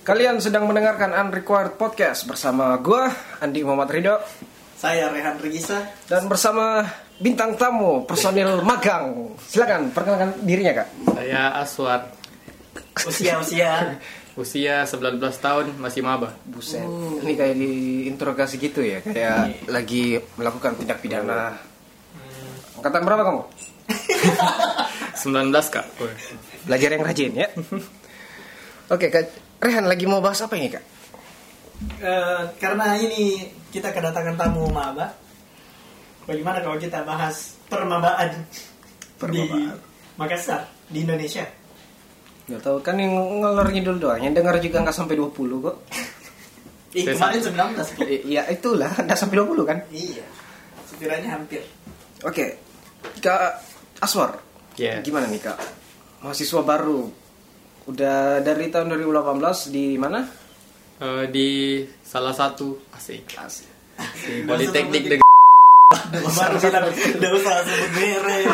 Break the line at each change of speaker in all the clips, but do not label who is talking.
Kalian sedang mendengarkan Unrequired Podcast bersama gua Andi Muhammad Ridho
Saya Rehan Regisa.
dan bersama bintang tamu personil magang. Silakan perkenalkan dirinya kak.
Saya Aswar,
Usia-usia.
usia 19 tahun, masih maba.
Buset, ini kayak diinterogasi gitu ya, kayak lagi melakukan tindak pidana. Angkatan berapa kamu?
19 kak. Woi.
Belajar yang rajin ya. Oke kak, Rehan lagi mau bahas apa ini kak?
Eh, karena ini kita kedatangan tamu maba. Bagaimana kalau kita bahas permabaan,
Permabaan.
di Makassar, di Indonesia?
Gak tau kan yang ngelor ngidul doang, yang dengar juga nggak sampai 20 kok.
Ih,
Saya
kemarin 19 kok.
I- Ya itulah, nggak sampai 20 kan?
Iya. Sekiranya hampir.
Oke, Kak Aswar,
Iya.
gimana nih Kak? Mahasiswa baru, udah dari tahun 2018 di mana?
Eh, di salah satu asik
Asik.
di Politeknik
Salah
de
Baru bilang, "Nggak usah sebut merek."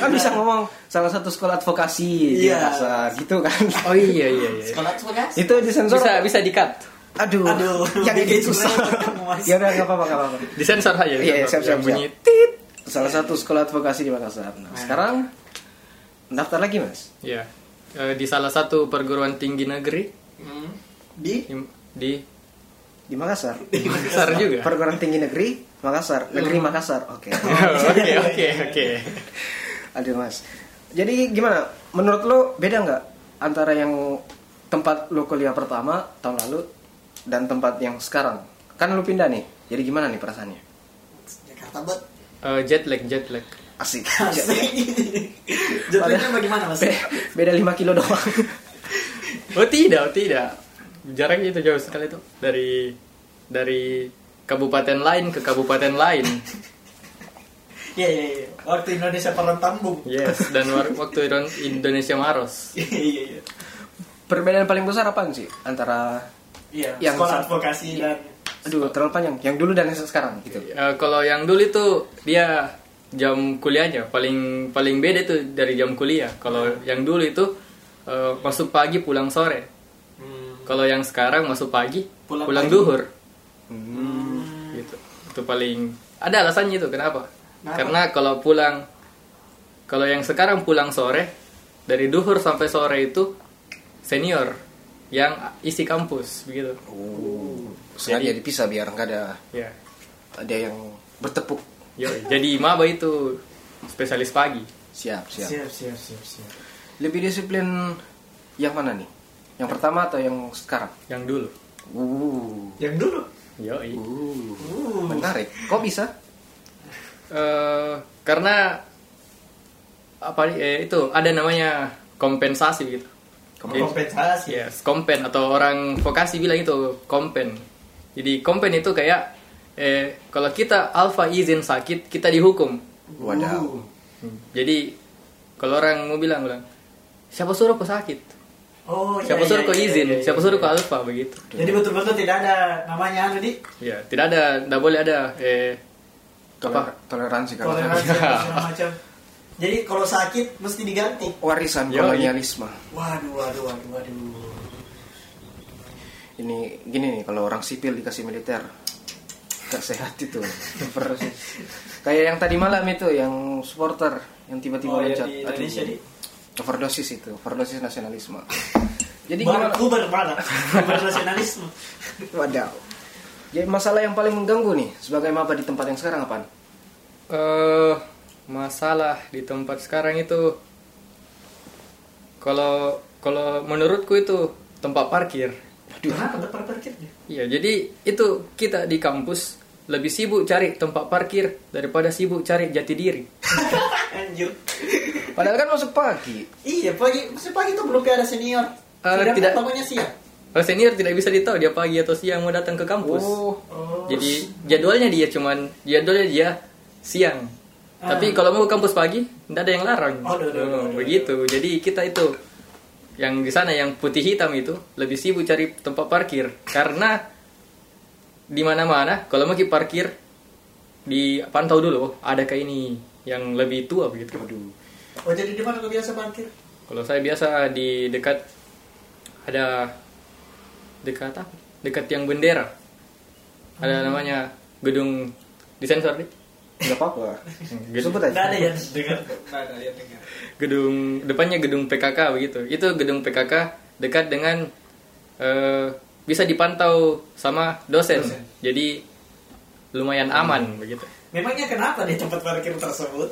Kan bisa ngomong salah satu sekolah advokasi di
Iya.
Makassar, gitu kan?
Oh iya iya iya.
Sekolah tuh guys.
Itu disensor.
Bisa bisa dikat.
Aduh,
Aduh,
yang
bikin
ini susah.
sebenarnya
ya udah nggak apa-apa, nggak apa-apa.
Disensor aja.
Iya,
disensor.
siap siap
Yang
siap.
bunyi.
Tit. Salah satu sekolah advokasi di Makassar. Nah, sekarang daftar lagi mas.
Iya. Eh, di salah satu perguruan tinggi negeri
Hmm. Di
im- di
Di Makassar.
Makassar juga.
Perguruan Tinggi Negeri Makassar, Negeri Makassar. Oke.
Oh, Oke oke oke.
Aduh mas. Jadi gimana? Menurut lo beda nggak antara yang tempat lo kuliah pertama tahun lalu dan tempat yang sekarang? Kan lo pindah nih. Jadi gimana nih perasaannya?
Jakarta Iya, buat.
Eh, jet lag jet lag.
Asik.
Jatuhnya bagaimana mas?
Be- beda 5 kilo doang.
Oh tidak oh, tidak. Jaraknya itu jauh sekali tuh dari dari kabupaten lain ke kabupaten lain.
Iya iya iya. Waktu Indonesia perang tambung.
Yes, dan war- waktu Iron- Indonesia Maros.
Iya iya iya.
Perbedaan paling besar apaan sih antara
Iya.
Yang
sekolah
sa-
advokasi dan
aduh terlalu panjang yang dulu dan yang sekarang gitu.
Eh, kalau yang dulu itu dia jam kuliahnya paling paling beda itu dari jam kuliah. Kalau yang dulu itu eh, masuk pagi pulang sore. Kalau yang sekarang masuk pagi
Pulang
pulang,
pagi. Hmm.
duhur. Gitu. Itu paling ada alasannya itu kenapa?
Kenapa?
Karena kalau pulang kalau yang sekarang pulang sore dari duhur sampai sore itu senior yang isi kampus begitu.
Oh, sengaja
Jadi-
dipisah biar nggak ada
Ya.
ada yang bertepuk.
Yo, jadi maba itu spesialis pagi.
Siap, siap.
siap siap siap siap.
Lebih disiplin yang mana nih? Yang pertama atau yang sekarang?
Yang dulu.
Uh.
Yang dulu.
Yo.
Uh,
Uh.
menarik. Kok bisa?
Eh, karena apa eh, itu ada namanya kompensasi gitu.
iya. Kompensasi. ya?
Yes, kompen atau orang vokasi bilang itu kompen. Jadi kompen itu kayak eh, kalau kita alfa izin sakit kita dihukum.
Wadaw.
Uh.
Jadi kalau orang mau bilang bilang siapa suruh kau sakit?
Oh. iya,
Siapa
iya,
suruh
iya,
kau
iya,
izin?
iya, iya.
siapa suruh kau alfa begitu?
Jadi betul-betul tidak ada namanya anu di
Ya, tidak ada, tidak boleh ada eh,
Toler- toleransi kalau
toleransi apa segala macam. Jadi kalau sakit mesti diganti.
warisan
Yo,
kolonialisme.
Waduh waduh waduh waduh.
Ini gini nih kalau orang sipil dikasih militer gak sehat itu Persis. kayak yang tadi malam itu yang supporter yang tiba-tiba
Oh, yang
loncat
di
Aduh,
Indonesia, Di.
overdosis itu overdosis nasionalisme jadi gimana
Baru kuber mana? Kuber nasionalisme.
wadaw jadi masalah yang paling mengganggu nih sebagai maba di tempat yang sekarang apaan
eh masalah di tempat sekarang itu kalau kalau menurutku itu tempat parkir.
Kenapa tempat parkirnya?
Iya, jadi itu kita di kampus lebih sibuk cari tempat parkir daripada sibuk cari jati diri.
Anjir.
padahal kan masuk pagi
Iya pagi, mesti pagi tuh belum kayak ada senior.
Eh,
Sedangkan
tidak.
bangunnya siang.
Kalau Oh, senior tidak bisa ditahu dia pagi atau siang mau datang ke kampus.
oh
Oh.
Jadi jadwalnya dia cuman jadwalnya dia siang. Tapi kalau mau ke kampus pagi, tidak ada yang larang.
Oh, aduh, aduh, aduh, aduh.
begitu. Jadi kita itu yang di sana yang putih hitam itu lebih sibuk cari tempat parkir karena di mana-mana kalau mau ke parkir di pantau dulu ada kayak ini yang lebih tua begitu.
aduh
Oh jadi di mana lu biasa parkir?
Kalau saya biasa di dekat ada dekat apa? Dekat yang bendera. Ada namanya gedung disensor nih.
nggak apa-apa
Gedung,
sebut
Nggak ada
aja
yang dengar. Nggak ada yang dengar.
gedung depannya gedung PKK begitu. Itu gedung PKK dekat dengan eh, bisa dipantau sama dosen.
Dosen.
Jadi lumayan aman begitu.
Memangnya kenapa di tempat parkir tersebut?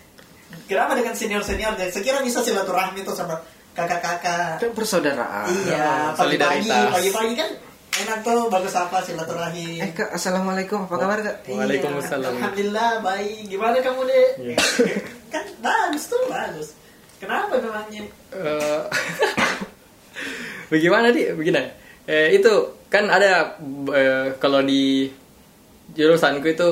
kenapa dengan senior seniornya? Sekira bisa silaturahmi tuh sama kakak-kakak.
kan persaudaraan
Iya, pagi-pagi,
solidaritas.
pagi-pagi kan enak tuh bagus apa silaturahmi.
eh kak assalamualaikum apa kabar kak
Iya,
Waalaikumsalam.
Alhamdulillah baik. Gimana kamu deh?
Iya.
kan bagus tuh bagus. Kenapa memangnya?
Eh, bagaimana di begini eh, itu kan ada eh, kalau di jurusanku itu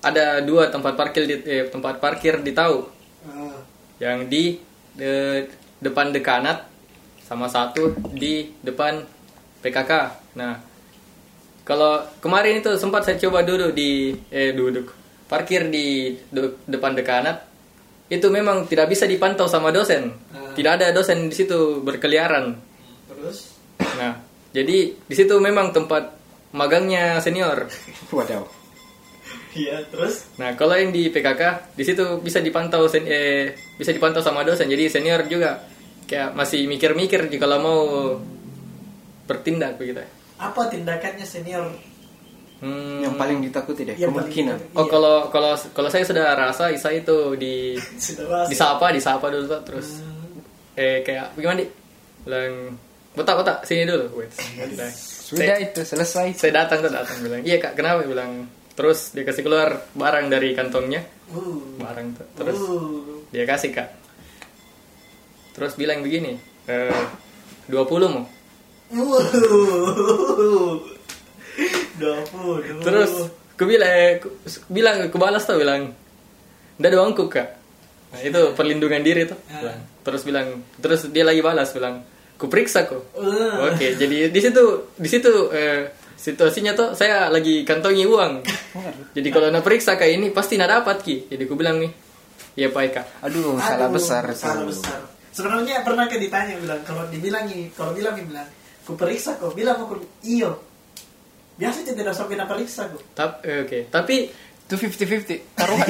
ada dua tempat parkir di eh, tempat parkir di tahu
Eh,
yang di de- depan dekanat sama satu di depan PKK nah kalau kemarin itu sempat saya coba duduk di eh duduk parkir di de- depan dekanat itu memang tidak bisa dipantau sama dosen
Ah.
tidak ada dosen di situ berkeliaran
terus
nah jadi di situ memang tempat magangnya senior
wadaw
iya terus
Nah, kalau yang di PKK di situ bisa dipantau sen- eh, bisa dipantau sama dosen. Jadi senior juga kayak masih mikir-mikir jika kalau mau bertindak begitu.
apa tindakannya senior?
Hmm.
yang paling ditakuti deh
Yang paling
kemungkinan
ditakuti.
Oh,
Iya.
kalau kalau kalau saya sudah rasa Isa itu di
Sudah bahas.
disapa, disapa dulu Pak. terus eh kayak gimana, Di? Bilang botak botak sini dulu. Wait. Bilang,
sudah itu selesai
Saya datang tuh datang bilang, "Iya, Kak, kenapa?" bilang. Terus dia kasih keluar barang dari kantongnya,
Uh,
barang tuh. Terus
uh.
Dia kasih kak Terus bilang begini eh, 20 mau
Wuh. 20.
Terus ku bilang, eh, ku- s- bilang ku balas tuh bilang Nggak ada uangku kak Nah itu perlindungan diri tuh
Ah.
bilang. Terus bilang Terus dia lagi balas bilang Ku periksa kok
Ah.
Oke jadi di situ di situ eh, situasinya tuh saya lagi kantongi uang Jadi kalau nak periksa kayak ini pasti nak dapat ki Jadi ku bilang nih Iya baik kak
aduh,
Aduh,
salah besar
Salah
tuh.
besar. Sebenarnya pernah kan ditanya bilang kalau dibilang ini, kalau bilang ini bilang, ku periksa kok, bilang aku iyo. Biasa tidak sampai nak periksa kok.
Tap- eh, Oke tapi
itu fifty fifty taruhan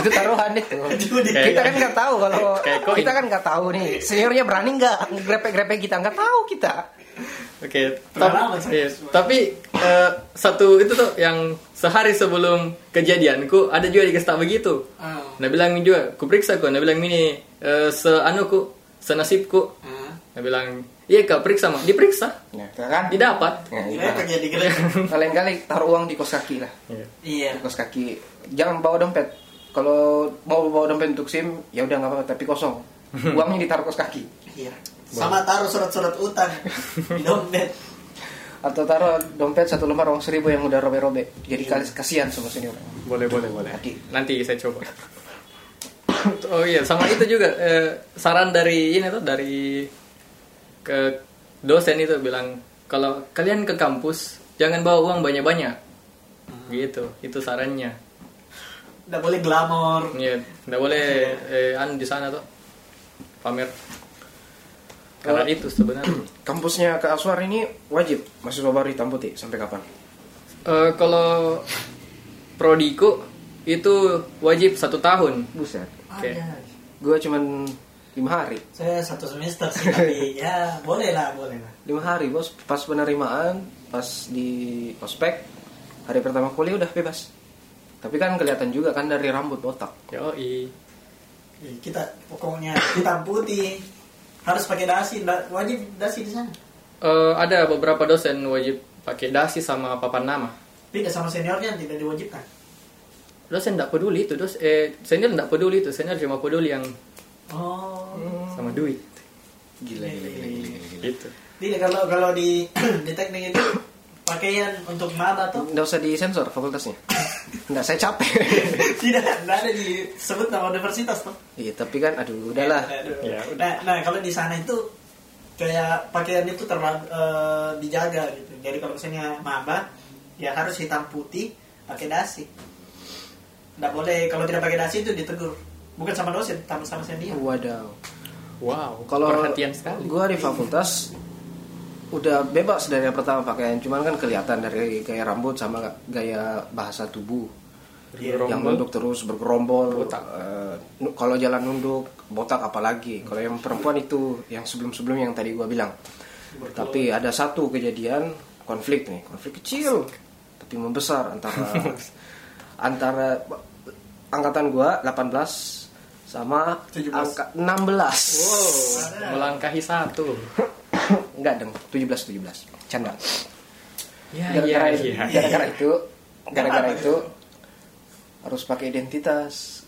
itu taruhan itu
Judi.
kita kan nggak tahu kalau
Kayak koin.
kita kan nggak tahu nih seniornya berani nggak grepek grepek kita nggak tahu kita
Oke,
Pengalaman
tapi,
saya.
iya, tapi eh, satu itu tuh yang sehari sebelum kejadianku ada juga dikasih tahu begitu.
Ah.
Nah bilang juga, ku periksa ku, nah bilang ini eh, seanuku, senasibku.
Ah.
Nah bilang, iya kak periksa mak, diperiksa,
nah kan
didapat.
Nah,
Kira
iya.
jadi kira.
lain kali taruh uang di kos kaki lah di
Iya.
kos kaki jangan bawa dompet kalau mau bawa dompet untuk sim ya udah nggak apa-apa tapi kosong uangnya ditaruh kos kaki
Iya. Sama taruh surat-surat utang di dompet.
atau taruh dompet satu lembar uang seribu yang udah robek-robek jadi kali kasihan sama senior
Boleh boleh boleh.
Nanti.
Nanti saya coba. oh iya, sama itu juga eh, saran dari ini tuh dari ke dosen itu bilang kalau kalian ke kampus jangan bawa uang banyak-banyak. Gitu, itu sarannya.
Nggak boleh glamor.
Iya, nggak boleh eh, anu di sana tuh pamer. Karena itu sebenarnya.
kampusnya ke Aswar ini wajib mahasiswa baru hitam putih sampai kapan
Eh, kalau prodiku itu wajib satu tahun.
buset
Oke.
Ada.
gue cuman lima hari
Saya satu semester sih, tapi ya boleh lah, boleh lah.
lima hari bos pas penerimaan pas di ospek hari pertama kuliah udah bebas tapi kan kelihatan juga kan dari rambut botak
Yoi.
Eh, Kita pokoknya hitam putih harus pakai dasi, nda- wajib dasi di sana.
Eh, ada beberapa dosen wajib pakai dasi sama papan nama.
Tidak sama seniornya tidak diwajibkan.
Dosen tidak peduli itu, dos eh senior tidak peduli itu, senior cuma peduli yang
Oh.
sama duit.
gila gila gila gila, gila, gila.
Gitu.
Tidak kalau kalau di di teknik itu pakaian untuk maba tuh
nggak usah disensor fakultasnya nggak saya capek
tidak tidak ada disebut nama universitas tuh.
iya tapi kan aduh udahlah
Ya,
Nah, nah kalau di sana itu kayak pakaian itu terlalu eh, dijaga gitu. Jadi kalau misalnya maba ya harus hitam putih pakai dasi. Tidak boleh kalau tidak pakai dasi itu ditegur. Bukan sama dosen, sama sama senior.
wadaw
Wow,
Kalau
perhatian sekali.
Gua di fakultas udah bebas dari yang pertama pakaian, cuman kan kelihatan dari gaya rambut sama gaya bahasa tubuh. Yang
Rombol.
nunduk terus bergerombol.
Botak.
eh, nu- kalau jalan nunduk, botak apalagi. Kalau yang perempuan itu yang sebelum-sebelum yang tadi gua bilang. Tapi ada satu kejadian konflik nih, konflik kecil tapi membesar antara antara angkatan gua 18 sama
17.
angka- 16.
Wow, melangkahi satu.
Enggak dong, 17 17. Canda.
Ya,
Gara-gara
ya, ya.
gara-gara itu gara-gara itu harus pakai identitas.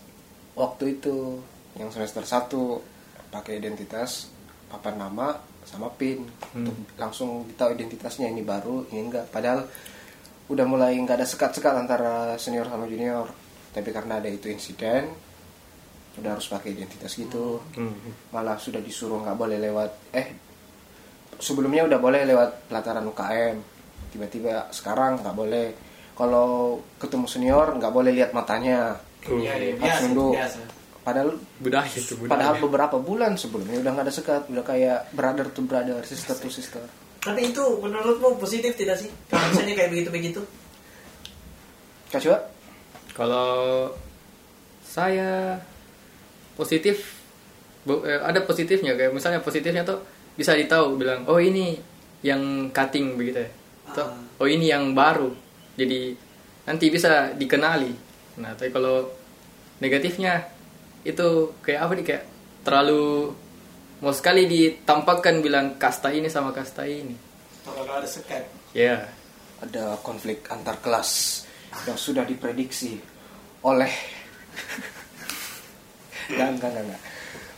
Waktu itu yang semester 1 pakai identitas papan nama sama PIN untuk langsung tahu identitasnya ini baru, ini enggak. Padahal udah mulai nggak ada sekat-sekat antara senior sama junior. Tapi karena ada itu insiden udah harus pakai identitas gitu. Malah sudah disuruh nggak boleh lewat eh sebelumnya udah boleh lewat pelataran UKM tiba-tiba sekarang nggak boleh kalau ketemu senior nggak boleh lihat matanya
Tuh.
Iya, iya,
harus
biasa,
nunduk
biasa.
padahal
Budaya itu budaya.
padahal beberapa bulan sebelumnya udah nggak ada sekat udah kayak brother to brother sister to sister
Tapi itu menurutmu positif tidak sih? Kalau misalnya kayak begitu-begitu.
kak coba
Kalau saya positif bo- eh, ada positifnya kayak misalnya positifnya tuh bisa ditahu bilang oh ini yang cutting begitu ya. Atau, oh ini yang baru. Jadi nanti bisa dikenali. Nah, tapi kalau negatifnya itu kayak apa nih kayak terlalu mau sekali ditampakkan bilang kasta ini sama kasta ini.
Kalau ada sekat.
Ya.
ada konflik antar kelas yang sudah diprediksi oleh nggak nggak nggak, nggak.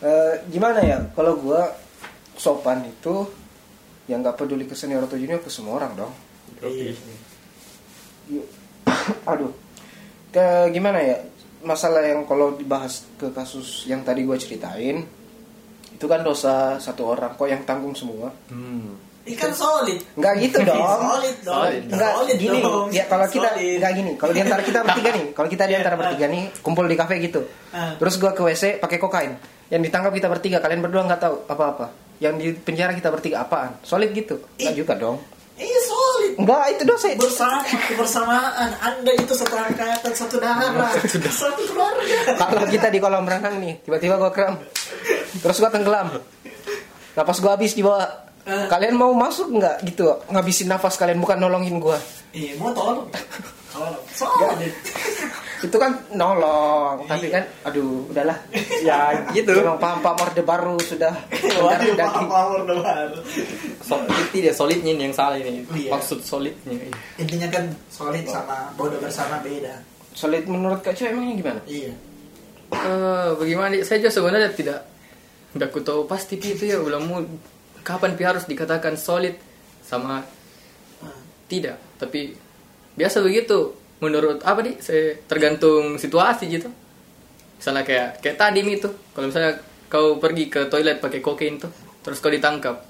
Eh, gimana ya kalau gua sopan itu yang nggak peduli ke senior atau junior ke semua orang dong Iya.
Iya.
Yuk. Iya. aduh ke gimana ya masalah yang kalau dibahas ke kasus yang tadi gua ceritain itu kan dosa satu orang kok yang tanggung semua
Hmm.
Ikan solid.
nggak gitu dong
Solid dong.
Solid.
Enggak
Solid
gini,
dong.
ya kalau kita
Solid.
enggak gini, kalau di antara kita bertiga nih, kalau kita di antara
Iya,
bertiga nih kumpul di kafe gitu.
Ah.
Terus gua ke WC pakai kokain. Yang ditangkap kita bertiga, kalian berdua nggak tahu apa-apa. Yang di penjara kita bertiga apaan? Solid gitu. Enggak
Ih.
juga dong.
Iya solid.
Enggak, itu dosa.
bersama kebersamaan anda itu satu angkatan satu darah satu keluarga
Kalau kita di kolam renang nih, tiba-tiba gua kram. Terus gua tenggelam. Napas gua habis di bawah.
Ah.
Kalian mau masuk nggak gitu? Ngabisin nafas kalian bukan nolongin gua.
iya mau tolong tolong solid
itu kan nolong tapi kan aduh udahlah ya gitu memang paham paham orde baru sudah mendarah
waduh
iya. daging
paham power doang
Solidity dia solidnya ini yang salah ini.
Iya.
Maksud solidnya. iya.
intinya kan solid sama bodoh bersama beda
solid menurut kak Cu emangnya gimana
iya
Eh, bagaimana? Saya juga sebenarnya tidak tidak ku tahu pasti Pi, itu ya ulangmu kapan pi harus dikatakan solid sama
Ah,
tidak. Tapi biasa begitu. Menurut apa nih? Saya tergantung situasi gitu. Misalnya kayak kayak tadi Mi, itu. Kalau misalnya kau pergi ke toilet pakai kokain tuh, terus kau ditangkap.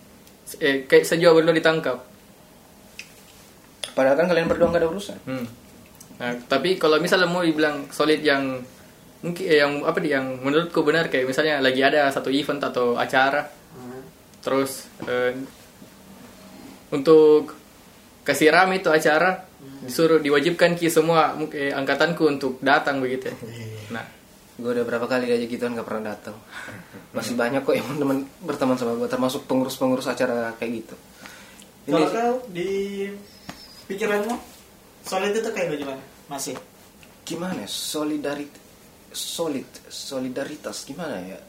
Eh, kayak saya juga berdua ditangkap.
padahal kan kalian berdua nggak ada urusan
Hmm. Nah, tapi kalau misalnya mau dibilang solid yang mungkin eh, yang apa di yang menurutku benar kayak misalnya lagi ada satu event atau acara
ah.
terus eh, untuk kasih rame itu acara
Hmm.
disuruh diwajibkan ki semua mu- eh, angkatanku untuk datang begitu ya. Nah,
gue udah berapa kali diajak gituan nggak pernah datang masih banyak kok yang teman berteman sama gue termasuk pengurus-pengurus acara kayak gitu ini
kalau kau di pikiranmu solid itu kayak bagaimana masih
gimana solidarit solid solidaritas gimana ya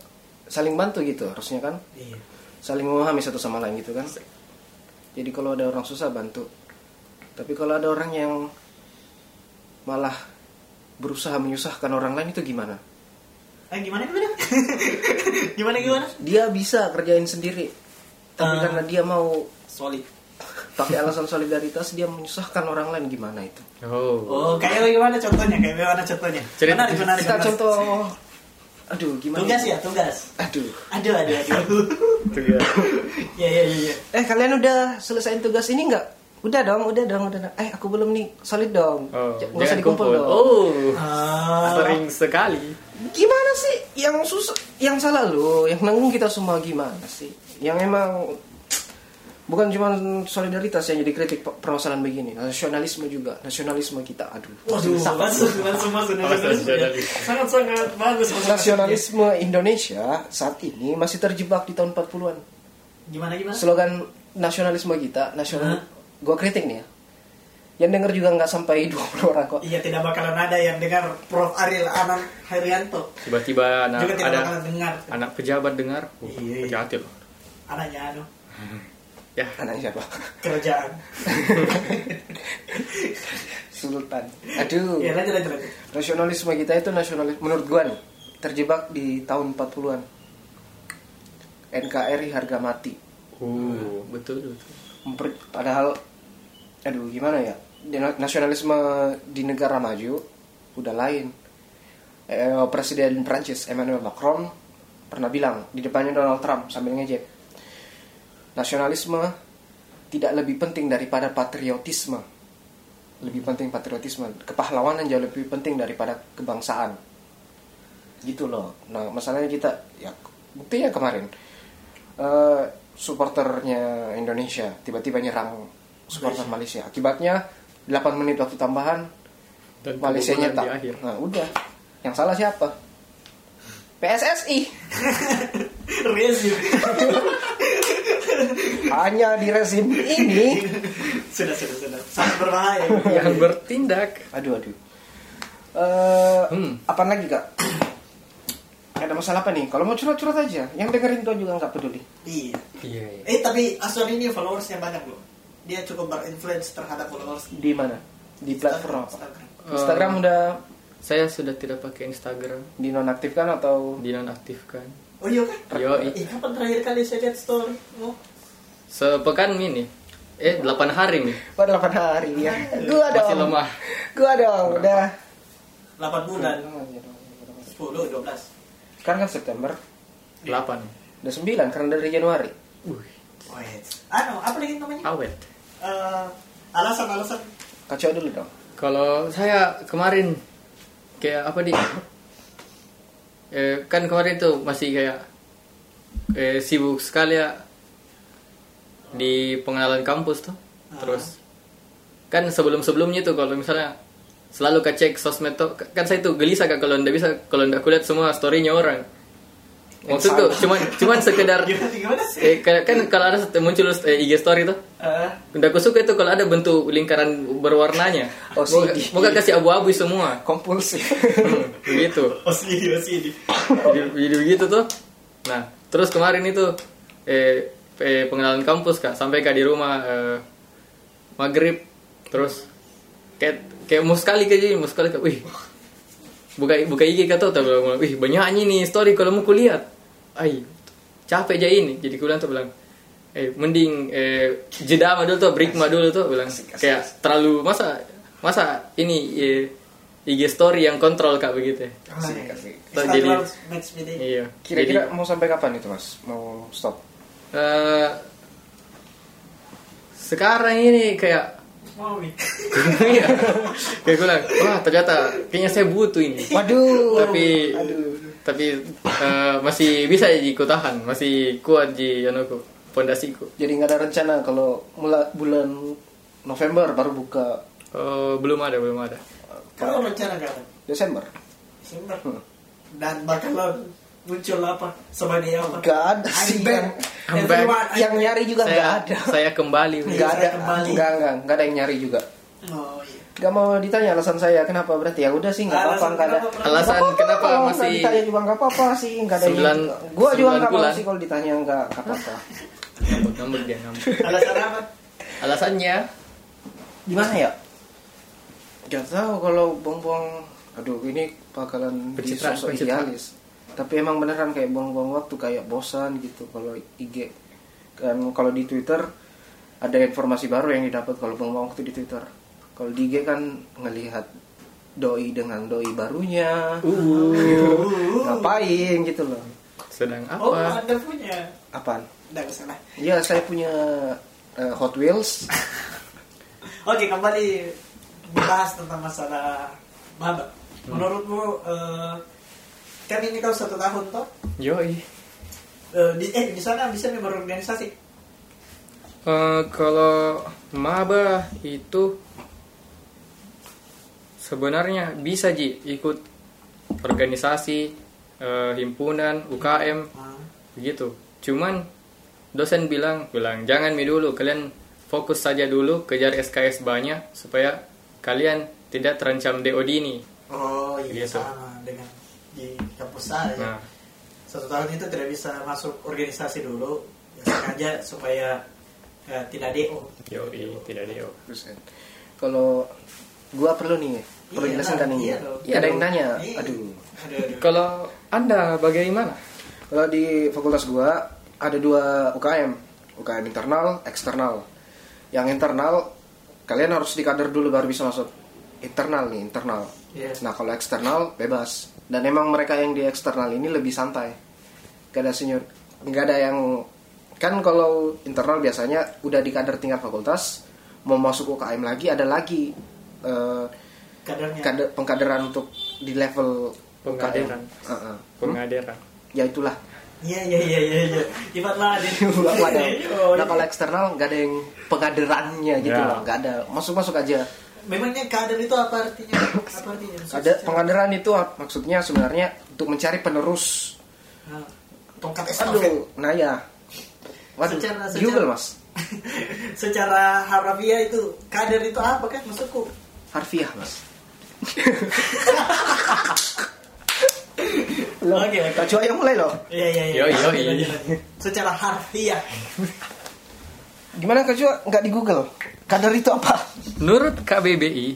saling bantu gitu harusnya kan
iya
saling memahami satu sama lain gitu kan jadi kalau ada orang susah bantu tapi kalau ada orang yang malah berusaha menyusahkan orang lain itu gimana
eh gimana gimana gimana gimana
dia bisa kerjain sendiri tapi
Ah.
karena dia mau
solid
pakai alasan solidaritas dia menyusahkan orang lain gimana itu
oh
oh.
kayak bagaimana contohnya kayak bagaimana contohnya
Cerita-
menarik menarik
kita
menarik.
contoh aduh gimana
tugas ya tugas
aduh
aduh aduh aduh ya ya ya ya
eh kalian udah selesaiin tugas ini nggak udah dong udah dong udah dong. eh aku belum nih solid dong
Oh,
nggak usah
jangan
dikumpul
kumpul.
dong
Oh,
Ah,
sering sekali.
gimana sih yang susah yang salah lo yang nanggung kita semua gimana sih yang emang bukan cuma solidaritas yang jadi kritik pe- permasalahan begini nasionalisme juga nasionalisme kita aduh
Waduh, masuk, masuk, masuk, masuk, sangat-sangat bagus. masuk-
nasionalisme Indonesia saat ini masih terjebak di tahun 40-an
Gimana gimana?
slogan nasionalisme kita nasional
Hah?
gua kritik nih ya yang denger juga nggak sampai 20 orang kok
Iya, tidak bakalan ada yang dengar Prof. Ariel Anam Hairianto.
Tiba-tiba anak
Juga tidak
ada
bakalan dengar
anak pejabat dengar, uh,
Iya.
hati-hati loh.
anaknya anu
Ya,
anak siapa
kerjaan.
Sultan aduh
Iya, lanjut lanjut lanjut.
nasionalisme kita itu nasionalis menurut gua nih terjebak di tahun 40-an NKRI harga mati
Ah.
uh, betul betul.
Memper- padahal aduh gimana ya Di- nasionalisme di negara maju udah lain Eh, presiden Prancis Emmanuel Macron pernah bilang di depannya Donald Trump sambil ngejek nasionalisme tidak lebih penting daripada patriotisme lebih penting patriotisme kepahlawanan jauh lebih penting daripada kebangsaan gitu loh nah masalahnya kita ya buktinya kemarin eh, supporternya Indonesia tiba-tiba nyerang supporter Malaysia akibatnya 8 menit waktu tambahan
Dan
Malaysia
kebobolan
nyetak
di akhir.
nah udah yang salah siapa PSSI
Rezim.
hanya di rezim ini
sudah sudah sudah. Sangat berbahaya.
Yang bertindak
aduh aduh Eh,
Hmm.
apaan lagi kak ada masalah apa nih kalau mau curhat-curhat aja yang dengerin tuh juga nggak peduli
Iya.
Iya, iya.
Eh tapi Aswan ini followersnya banyak loh. Dia cukup berinfluence terhadap followers.
di mana di platform apa
Instagram.
Instagram udah
Saya sudah tidak pakai Instagram,
dinonaktifkan atau
dinonaktifkan.
Oh iya kan?
Yo,
Ih, kapan terakhir kali saya lihat story? Oh.
sepekan ini. Eh, 8 hari nih.
Wah, 8 hari ya gua dong
Masih lemah.
gua dong udah
8 bulan, 10, 12.
sekarang kan September
8.
udah 9 karena dari Januari
Uh,
Wait. Anu, apa lagi namanya?
awet.
Eh, alasan-alasan
kacau dulu dong
Kalau saya kemarin kayak apa di eh, kan kemarin tuh masih kayak eh, sibuk sekali ya di pengenalan kampus tuh. Terus kan sebelum-sebelumnya tuh kalau misalnya selalu kecek sosmed tuh kan saya tuh gelisah kak kalau ndak bisa kalau ndak kulihat semua storynya orang. Maksudku cuman cuman sekedar
gimana gimana sih?
eh, kayak- kan kalau ada muncul eh, IG story tuh
Eh,
Udah aku suka itu kalau ada bentuk lingkaran berwarnanya.
Oh,
Moga-
CD.
moga kasih abu-abu semua.
kompulsif
Hmm, begitu.
oh sini, oh sini.
Jadi, jadi begitu tuh. Nah, terus kemarin itu eh, eh, pengenalan kampus Kak, sampai Kak di rumah eh, maghrib terus kayak kayak mau sekali Kak, jadi mau sekali Kak. Wih. Buka buka IG Kak tuh tuh bilang, "Wih, banyaknya nih story kalau mau kulihat." Ai, capek aja ini. Jadi kuliah tuh bilang, eh mending eh, jeda mah dulu tuh break mah dulu tuh bilang kayak terlalu masa masa ini eh, IG story yang kontrol kak begitu ya.
Asik, asik.
Tuh,
Instagram
jadi-
match me day.
Iya.
kira-kira mau sampai kapan itu mas mau stop
Jadi, eh, sekarang ini kayak
Mau nih.
iya. kayak gue bilang, wah ternyata kayaknya saya butuh ini.
waduh
tapi tapi eh, masih bisa jadi kutahan, masih kuat di anu anuku pondasiku.
jadi nggak ada rencana kalau mula bulan November baru buka
Eh, belum ada, belum ada.
Kalau rencana kapan?
Desember
Desember. Dan bakalan muncul apa? Sebagai apa?
Nggak ada
I'm
sih,
back.
I'm back.
Everyone, I'm
yang
back.
nyari juga nggak
saya
ada
saya kembali.
nggak ada
Kembali.
nggak nggak nggak ada yang nyari juga
Oh iya.
nggak mau ditanya alasan saya kenapa berarti ya udah sih nggak apa-apa
Alasan
nggak ada
kenapa?
Alasan
Nggak apa-apa
kenapa
kalau nggak
masih
ditanya juga nggak apa-apa sih nggak ada yang
Sembilan-
juga. gua juga
sembilan
nggak mau
bulan.
sih kalau ditanya nggak nggak apa-apa
ngambek ngambek dia ngambek.
Alasan apa?
Alasannya
gimana ya nggak tahu kalau buang-buang aduh ini bakalan di
Pencitraan,
sosok
pencitraan.
idealis tapi emang beneran kayak buang-buang waktu kayak bosan gitu kalau IG kan kalau di Twitter ada informasi baru yang didapat kalau buang-buang waktu di Twitter kalau di IG kan ngelihat doi dengan doi barunya
Uh.
ngapain gitu loh
sedang apa?
Oh, Anda punya.
apaan
Nggak usah lah.
ya saya punya eh, Hot Wheels
Oke, kembali membahas tentang masalah maba. Menurutmu eh, kan ini kau satu tahun toh
Yoi.
Eh, di eh di sana bisa member organisasi
Eh, kalau maba itu sebenarnya bisa ji ikut organisasi, eh, himpunan, UKM
Ah,
begitu. gitu. Cuman dosen bilang bilang jangan mi dulu kalian fokus saja dulu kejar SKS banyak supaya kalian tidak terancam DO dini.
oh iya
Biasa.
sama dengan di kampus saya
Nah,
satu tahun itu tidak bisa masuk organisasi dulu ya, sengaja supaya eh, tidak do
yoi tidak DO.
Buset. eh, Kalau gua perlu nih, perlu
Iya,
jelasin
nah,
kan ini.
iya dong.
Iya, ada yang tanya.
Iya.
Aduh. Nah.
aduh, aduh.
Kalau anda bagaimana?
Kalau di fakultas gua ada dua UKM, UKM internal, eksternal. Yang internal kalian harus di kader dulu baru bisa masuk. Internal nih, internal.
Iya.
Nah, kalau eksternal bebas. Dan emang mereka yang di eksternal ini lebih santai. Gak ada senior, nggak ada yang kan kalau internal biasanya udah di kader tingkat fakultas mau masuk UKM lagi ada lagi eh,
kadarnya
kader- pengkaderan untuk di level
Pengkaderan.
UKM. Heeh.
Pengaderan.
Ya itulah.
iya iya iya iya iya Ibat lah di
Nggak ada.
Oh,
Nah
iya.
kalau eksternal nggak ada yang pengaderannya gitu
Ya.
loh, nggak ada. Masuk-masuk aja.
memangnya kader itu apa artinya apa artinya
Ada pengaderan itu maksudnya sebenarnya untuk mencari penerus.
Nah, tongkat estafet
Aduh, nah ya. Waduh,
Secara- secara-
Google mas,
secara harafiah itu kader itu apa kan maksudku
harfiah mas.
Loh, oke, oke.
Kak Cua yang mulai loh.
iya iya
Yo, yo,
Lanjut,
yo.
lanjut, lanjut. secara harfiah
Gimana Kak Cua nggak di Google? Kader itu apa?
Menurut KBBI,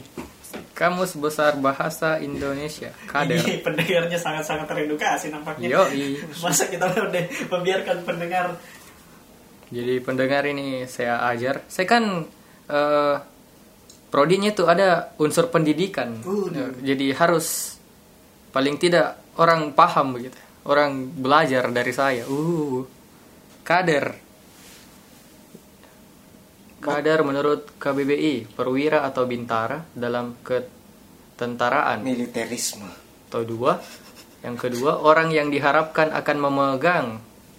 Kamus Besar Bahasa Indonesia, KADER,
Ini pendengarnya sangat-sangat teredukasi nampaknya.
Yoi.
Masa kita udah membiarkan pendengar
jadi pendengar ini saya ajar, saya kan eh, prodinya itu ada unsur pendidikan,
Waduh.
jadi harus paling tidak orang paham begitu, orang belajar dari saya. Uh, KADER, KADER menurut KBBI, perwira atau bintara dalam ketentaraan.
Militerisme.
atau dua yang kedua orang yang diharapkan akan memegang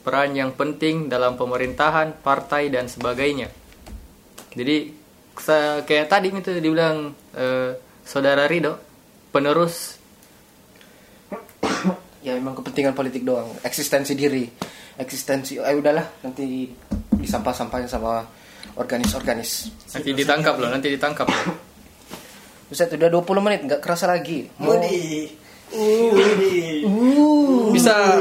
peran yang penting dalam pemerintahan partai dan sebagainya jadi se- kayak tadi itu dibilang eh, saudara Rido penerus
Ya memang kepentingan politik doang. Eksistensi diri, eksistensi. Eh udahlah nanti disampah-sampahin sama organis-organis.
nanti ditangkap loh nanti ditangkap loh.
Buset, udah 20 menit, nggak kerasa lagi. Mau
Budi.
Uh.
Budi.
bisa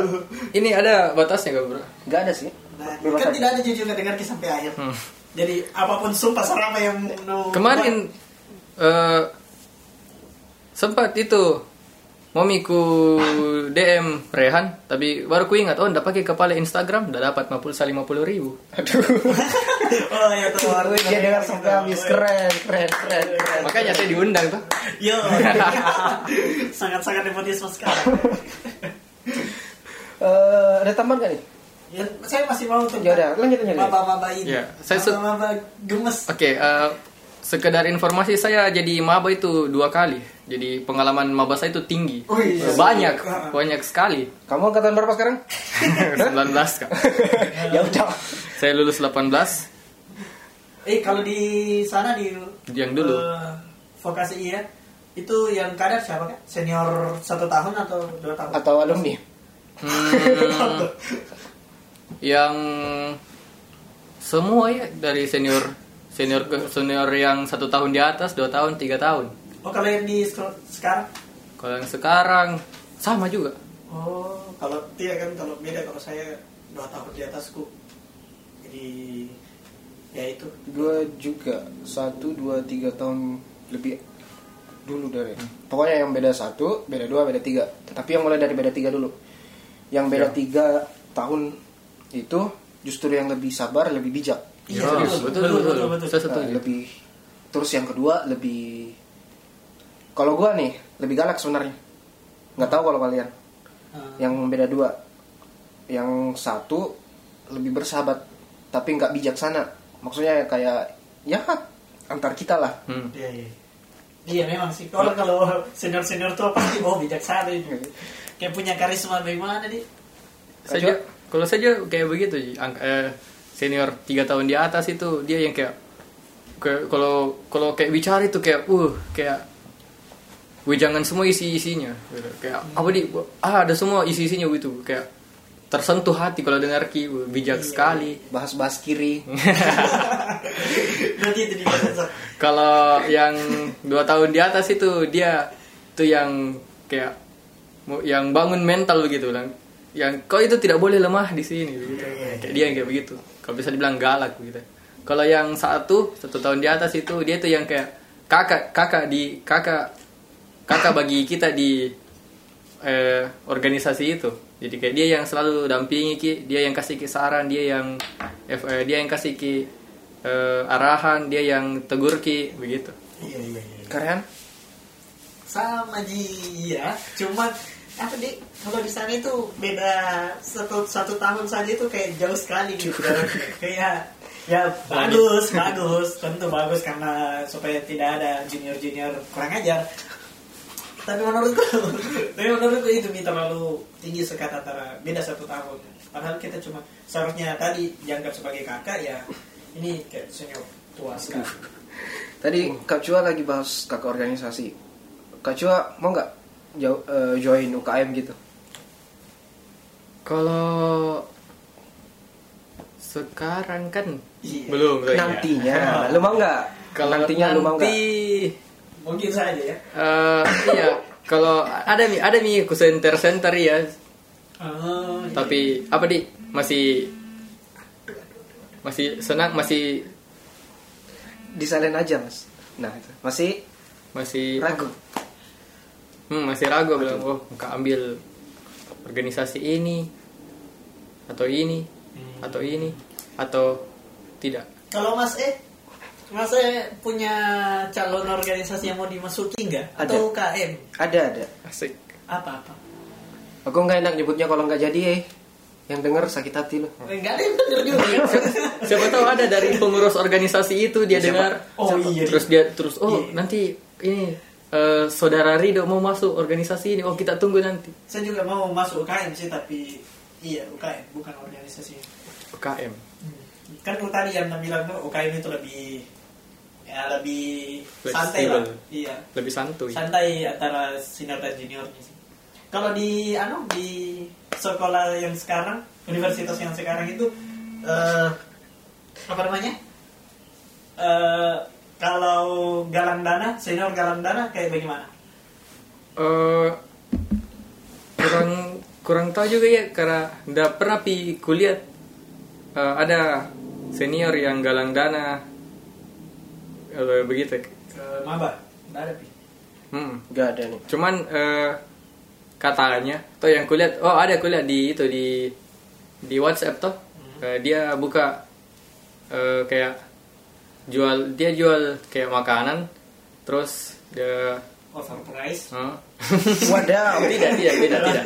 ini ada batasnya gak bro
nggak ada sih.
Nah,
Bebas aja.
kan tidak ada jujur dengar kisah sampai akhir.
Hmm.
Jadi apapun sumpah serapa yang nu-
kemarin eh, sempat itu momiku DM Rehan tapi baru ku ingat oh ndak pakai kepala Instagram udah dapat 50 50
oh
ribu
ya tuh
Wih, dia dengar sampai habis keren, keren, keren, keren.
makanya saya diundang tuh
Yo. Sangat-sangat nepotisme sekali.
Eh, ada tambahan nggak nih?
Ya, saya masih mau tentang
Ya udah, lanjut, lanjut.
Maba-maba ini.
Ya, saya su-
Maba-maba gemes.
oke eh, sekedar informasi saya jadi maba itu dua kali jadi pengalaman maba saya itu tinggi
Wih,
banyak
iya.
banyak sekali
Kamu angkatan berapa sekarang?
19 kak
ya udah.
saya lulus 18
Eh kalau di sana di
Yang dulu.
eh, vokasi iya itu yang kadar siapa kan? Senior satu tahun atau dua tahun?
Atau alumni?
Hmm, yang semua ya dari senior senior ke senior yang satu tahun di atas dua tahun tiga tahun
oh kalau yang di sekol- sekarang?
kalau yang sekarang sama juga
Oh kalau tidak kan kalau beda kalau saya dua tahun di atasku jadi ya itu
Gue juga satu, dua, tiga tahun lebih dulu dari. Pokoknya yang beda satu, beda dua, beda tiga. Tapi yang mulai dari beda tiga dulu. Yang beda tiga tahun itu justru yang lebih sabar, lebih bijak.
Iya,
Ya,
betul, betul,
betul betul,
betul, betul.
saya
Nah,
setuju
lebih terus yang kedua lebih kalau gua nih lebih galak sebenarnya nggak tahu kalau kalian
eh,
yang beda dua yang satu lebih bersahabat tapi nggak bijaksana maksudnya kayak ya antar kita lah
Hmm.
iya iya. Iya memang sih kalau kalau senior senior tua pasti oh bijaksana ini. kayak punya karisma bagaimana nih
saja kalau saja kayak begitu Ji. Ang- eh, senior tiga tahun di atas itu dia yang kayak kayak- kalau kalau kayak bicara itu kayak uh kayak "Wih, jangan semua isi isinya kayak apa di ah ada semua isi isinya gitu kayak tersentuh hati kalau dengar ki "Wih, bijak sekali
bahas-bahas kiri
Hmm.
nanti itu di sensor
Kalau yang dua tahun di atas itu dia tuh yang kayak mu- yang bangun mental gitu lang. Yang kau itu tidak boleh lemah di sini. Gitu. Kayak dia yang kayak begitu. Kalau bisa dibilang galak gitu. Kalau yang satu satu tahun di atas itu dia tuh yang kayak kakak kakak di kakak kakak bagi kita di eh, organisasi itu. Jadi kayak dia yang selalu dampingi ki, dia yang kasih ki saran, dia yang eh, eh, dia yang kasih ki eh, arahan, dia yang tegur ki begitu.
iya iya iya
keren
sama Ji ya cuman apa di kalau di sana itu beda satu satu tahun saja itu kayak jauh sekali gitu kayak ya bagus bagus tentu bagus karena supaya tidak ada junior junior kurang ajar tapi menurutku tapi menurutku itu Mi, terlalu tinggi sekat antara beda satu tahun padahal kita cuma seharusnya tadi dianggap sebagai kakak ya ini kayak senior tua sekali
tadi
Hmm.
Kak Cua lagi bahas kakak organisasi Kak Cua mau nggak jau- eh, join UKM gitu
Kalau sekarang kan
Iya.
belum kayaknya.
nantinya lu mau nggak
Kalau
nantinya lu mau nggak
nanti
mungkin saja ya
eh, iya kalau ada mi ada mi center center ya
oh, iya.
tapi apa di masih masih senang masih
disalin aja mas nah itu. masih
masih
ragu
Hmm, masih ragu bilang, oh, nggak ambil organisasi ini atau ini
Hmm.
atau ini atau tidak.
Kalau Mas E, Mas E punya calon organisasi yang mau dimasuki nggak?
Ada.
Atau UKM?
ada ada
Asik.
Apa-apa?
aku nggak enak nyebutnya kalau nggak jadi eh yang denger sakit hati lu
Enggak Eh, ada yang bener juga.
Siapa tahu ada dari pengurus organisasi itu dia
Siapa?
dengar.
Oh, iya.
Terus dia terus oh,
Iya.
nanti ini eh, saudara Rido mau masuk organisasi ini. Oh, kita tunggu nanti.
Saya juga mau masuk UKM sih, tapi iya UKM, bukan organisasi.
UKM.
Hmm. Kan lu tadi yang bilang tuh UKM itu lebih ya lebih
Flexible.
santai lah. Iya.
Lebih santuy.
Santai antara senior dan juniornya sih. Kalau di anu di sekolah yang sekarang, universitas yang sekarang itu eh apa namanya? Eh kalau galang dana, senior galang dana kayak bagaimana?
Eh, kurang kurang tahu juga ya karena udah pernah pi kuliah eh, ada senior yang galang dana Eh, begitu
Ke maba, nggak ada pi.
hmm.
nggak ada nih
cuman eh, katanya tuh yang kulihat oh ada kulihat di itu di di WhatsApp tuh
Hmm.
Eh, dia buka eh, kayak jual dia jual kayak makanan terus dia
Oh, Overprice.
eh,
wadaw
tidak tidak tidak tidak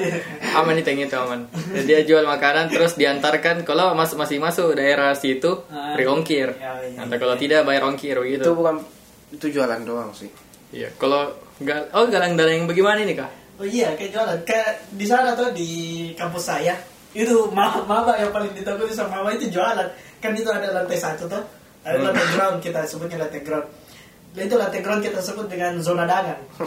aman itu yang itu aman Dan dia jual makanan terus diantarkan kalau mas masih masuk daerah situ
Ah,
free ongkir
iya, iya.
Atau kalau tidak bayar ongkir
itu
begitu
bukan itu jualan doang sih
iya kalau gal oh galang dana yang bagaimana ini kak
Oh iya, kayak jualan. Kayak di sana tuh di kampus saya itu maba, maba yang paling ditakuti sama maba itu jualan. Kan itu ada lantai satu tuh, ada lantai ground kita sebutnya lantai ground. Nah, itu lantai ground kita sebut dengan zona dagang.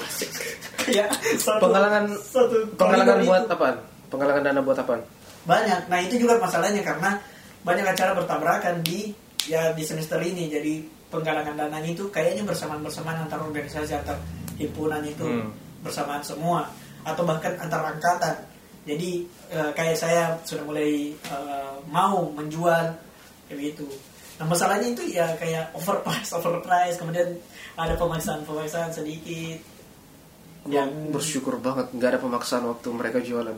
Kayak satu,
penggalangan
satu
penggalangan
koridor
buat
itu.
apaan penggalangan dana buat apaan
banyak. Nah itu juga masalahnya karena banyak acara bertabrakan di ya di semester ini. Jadi penggalangan dananya itu kayaknya bersamaan-bersamaan antar organisasi antar himpunan itu
Hmm.
bersamaan semua atau bahkan antar angkatan. Jadi eh, kayak saya sudah mulai eh, mau menjual kayak gitu. Nah masalahnya itu ya kayak overprice, overprice, kemudian ada pemaksaan-pemaksaan sedikit.
Gua bersyukur banget nggak ada pemaksaan waktu mereka jualan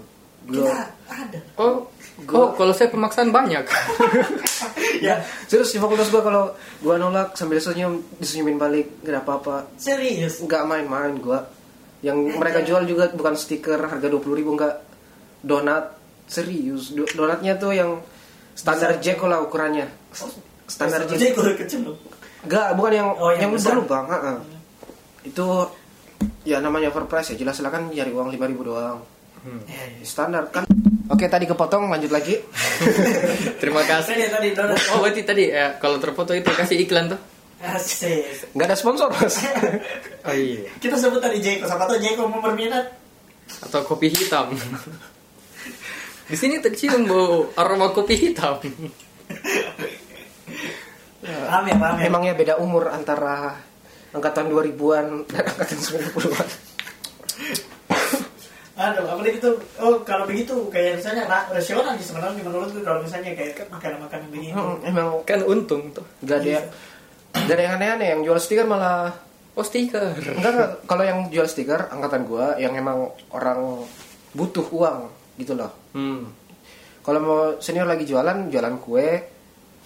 Kita
gua
ada.
oh oh kalau saya pemaksaan banyak
Ya
Terus di fakultas gua kalau gua nolak sambil senyum disenyumin balik nggak apa apa
serius.
nggak main-main gua yang
Iya,
mereka jual juga bukan stiker harga dua puluh ribu nggak donat serius Do- donatnya tuh yang standar jack lah ukurannya standar
Jadi
jack
gue kecil loh.
nggak bukan yang
Oh, yang
yang, Hmm.
besar.
berlubang ha-ha. itu ya namanya overpriced ya jelas silakan cari uang kan lima ribu doang standar kan oke tadi kepotong lanjut lagi
Terima kasih.
Tadi tadi donat.
Oh berarti tadi eh, kalau terfoto itu kasih iklan tuh?
Asik.
nggak ada sponsor mas
Oh iya.
Kita sebut tadi Jeko, siapa tahu Jeko mau berminat.
Atau kopi hitam. Di sini tercium bau aroma kopi hitam.
Rame, rame.
emangnya ya beda umur antara angkatan 2000-an dan angkatan 90-an
Aduh, apalagi itu, oh kalau begitu kayak misalnya ra- rasional sih sebenarnya menurutku kalau misalnya kayak makanan-makanan begini.
Hmm, emang
Kan untung tuh.
nggak ada yang nggak ada yang aneh-aneh yang jual stiker malah
Oh stiker.
enggak enggak. kalau yang jual stiker angkatan gua yang emang orang butuh uang gitu loh
Hmm.
Kalau mau senior lagi jualan, jualan kue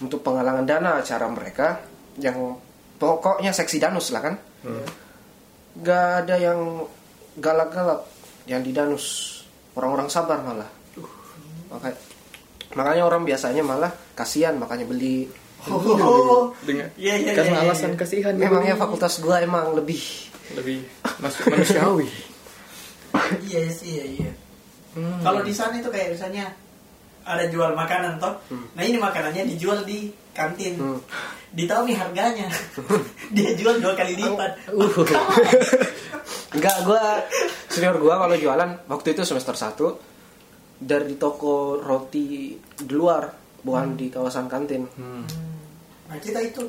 untuk penghalangan dana cara mereka yang pokoknya seksi danus lah kan.
Hmm.
Gak ada yang galak-galak yang di danus. Orang-orang sabar malah. Maka- makanya orang biasanya malah kasihan makanya beli.
Oh, oh, oh.
Dengan
Iya, iya, iya, iya.
karena alasan kasihan
Memangnya fakultas gua emang lebih
lebih ya, masuk manusiawi.
Iya sih, iya, iya.
Hmm.
Kalau di sana itu kayak misalnya ada jual makanan toh. Nah, ini makanannya dijual di kantin.
Hmm.
Ditahu nih harganya. Dia jual dua kali lipat.
Uh.
Enggak, gua senior gua kalau jualan waktu itu semester 1 dari toko roti di luar, bukan di kawasan kantin.
Hmm.
Nah, kita itu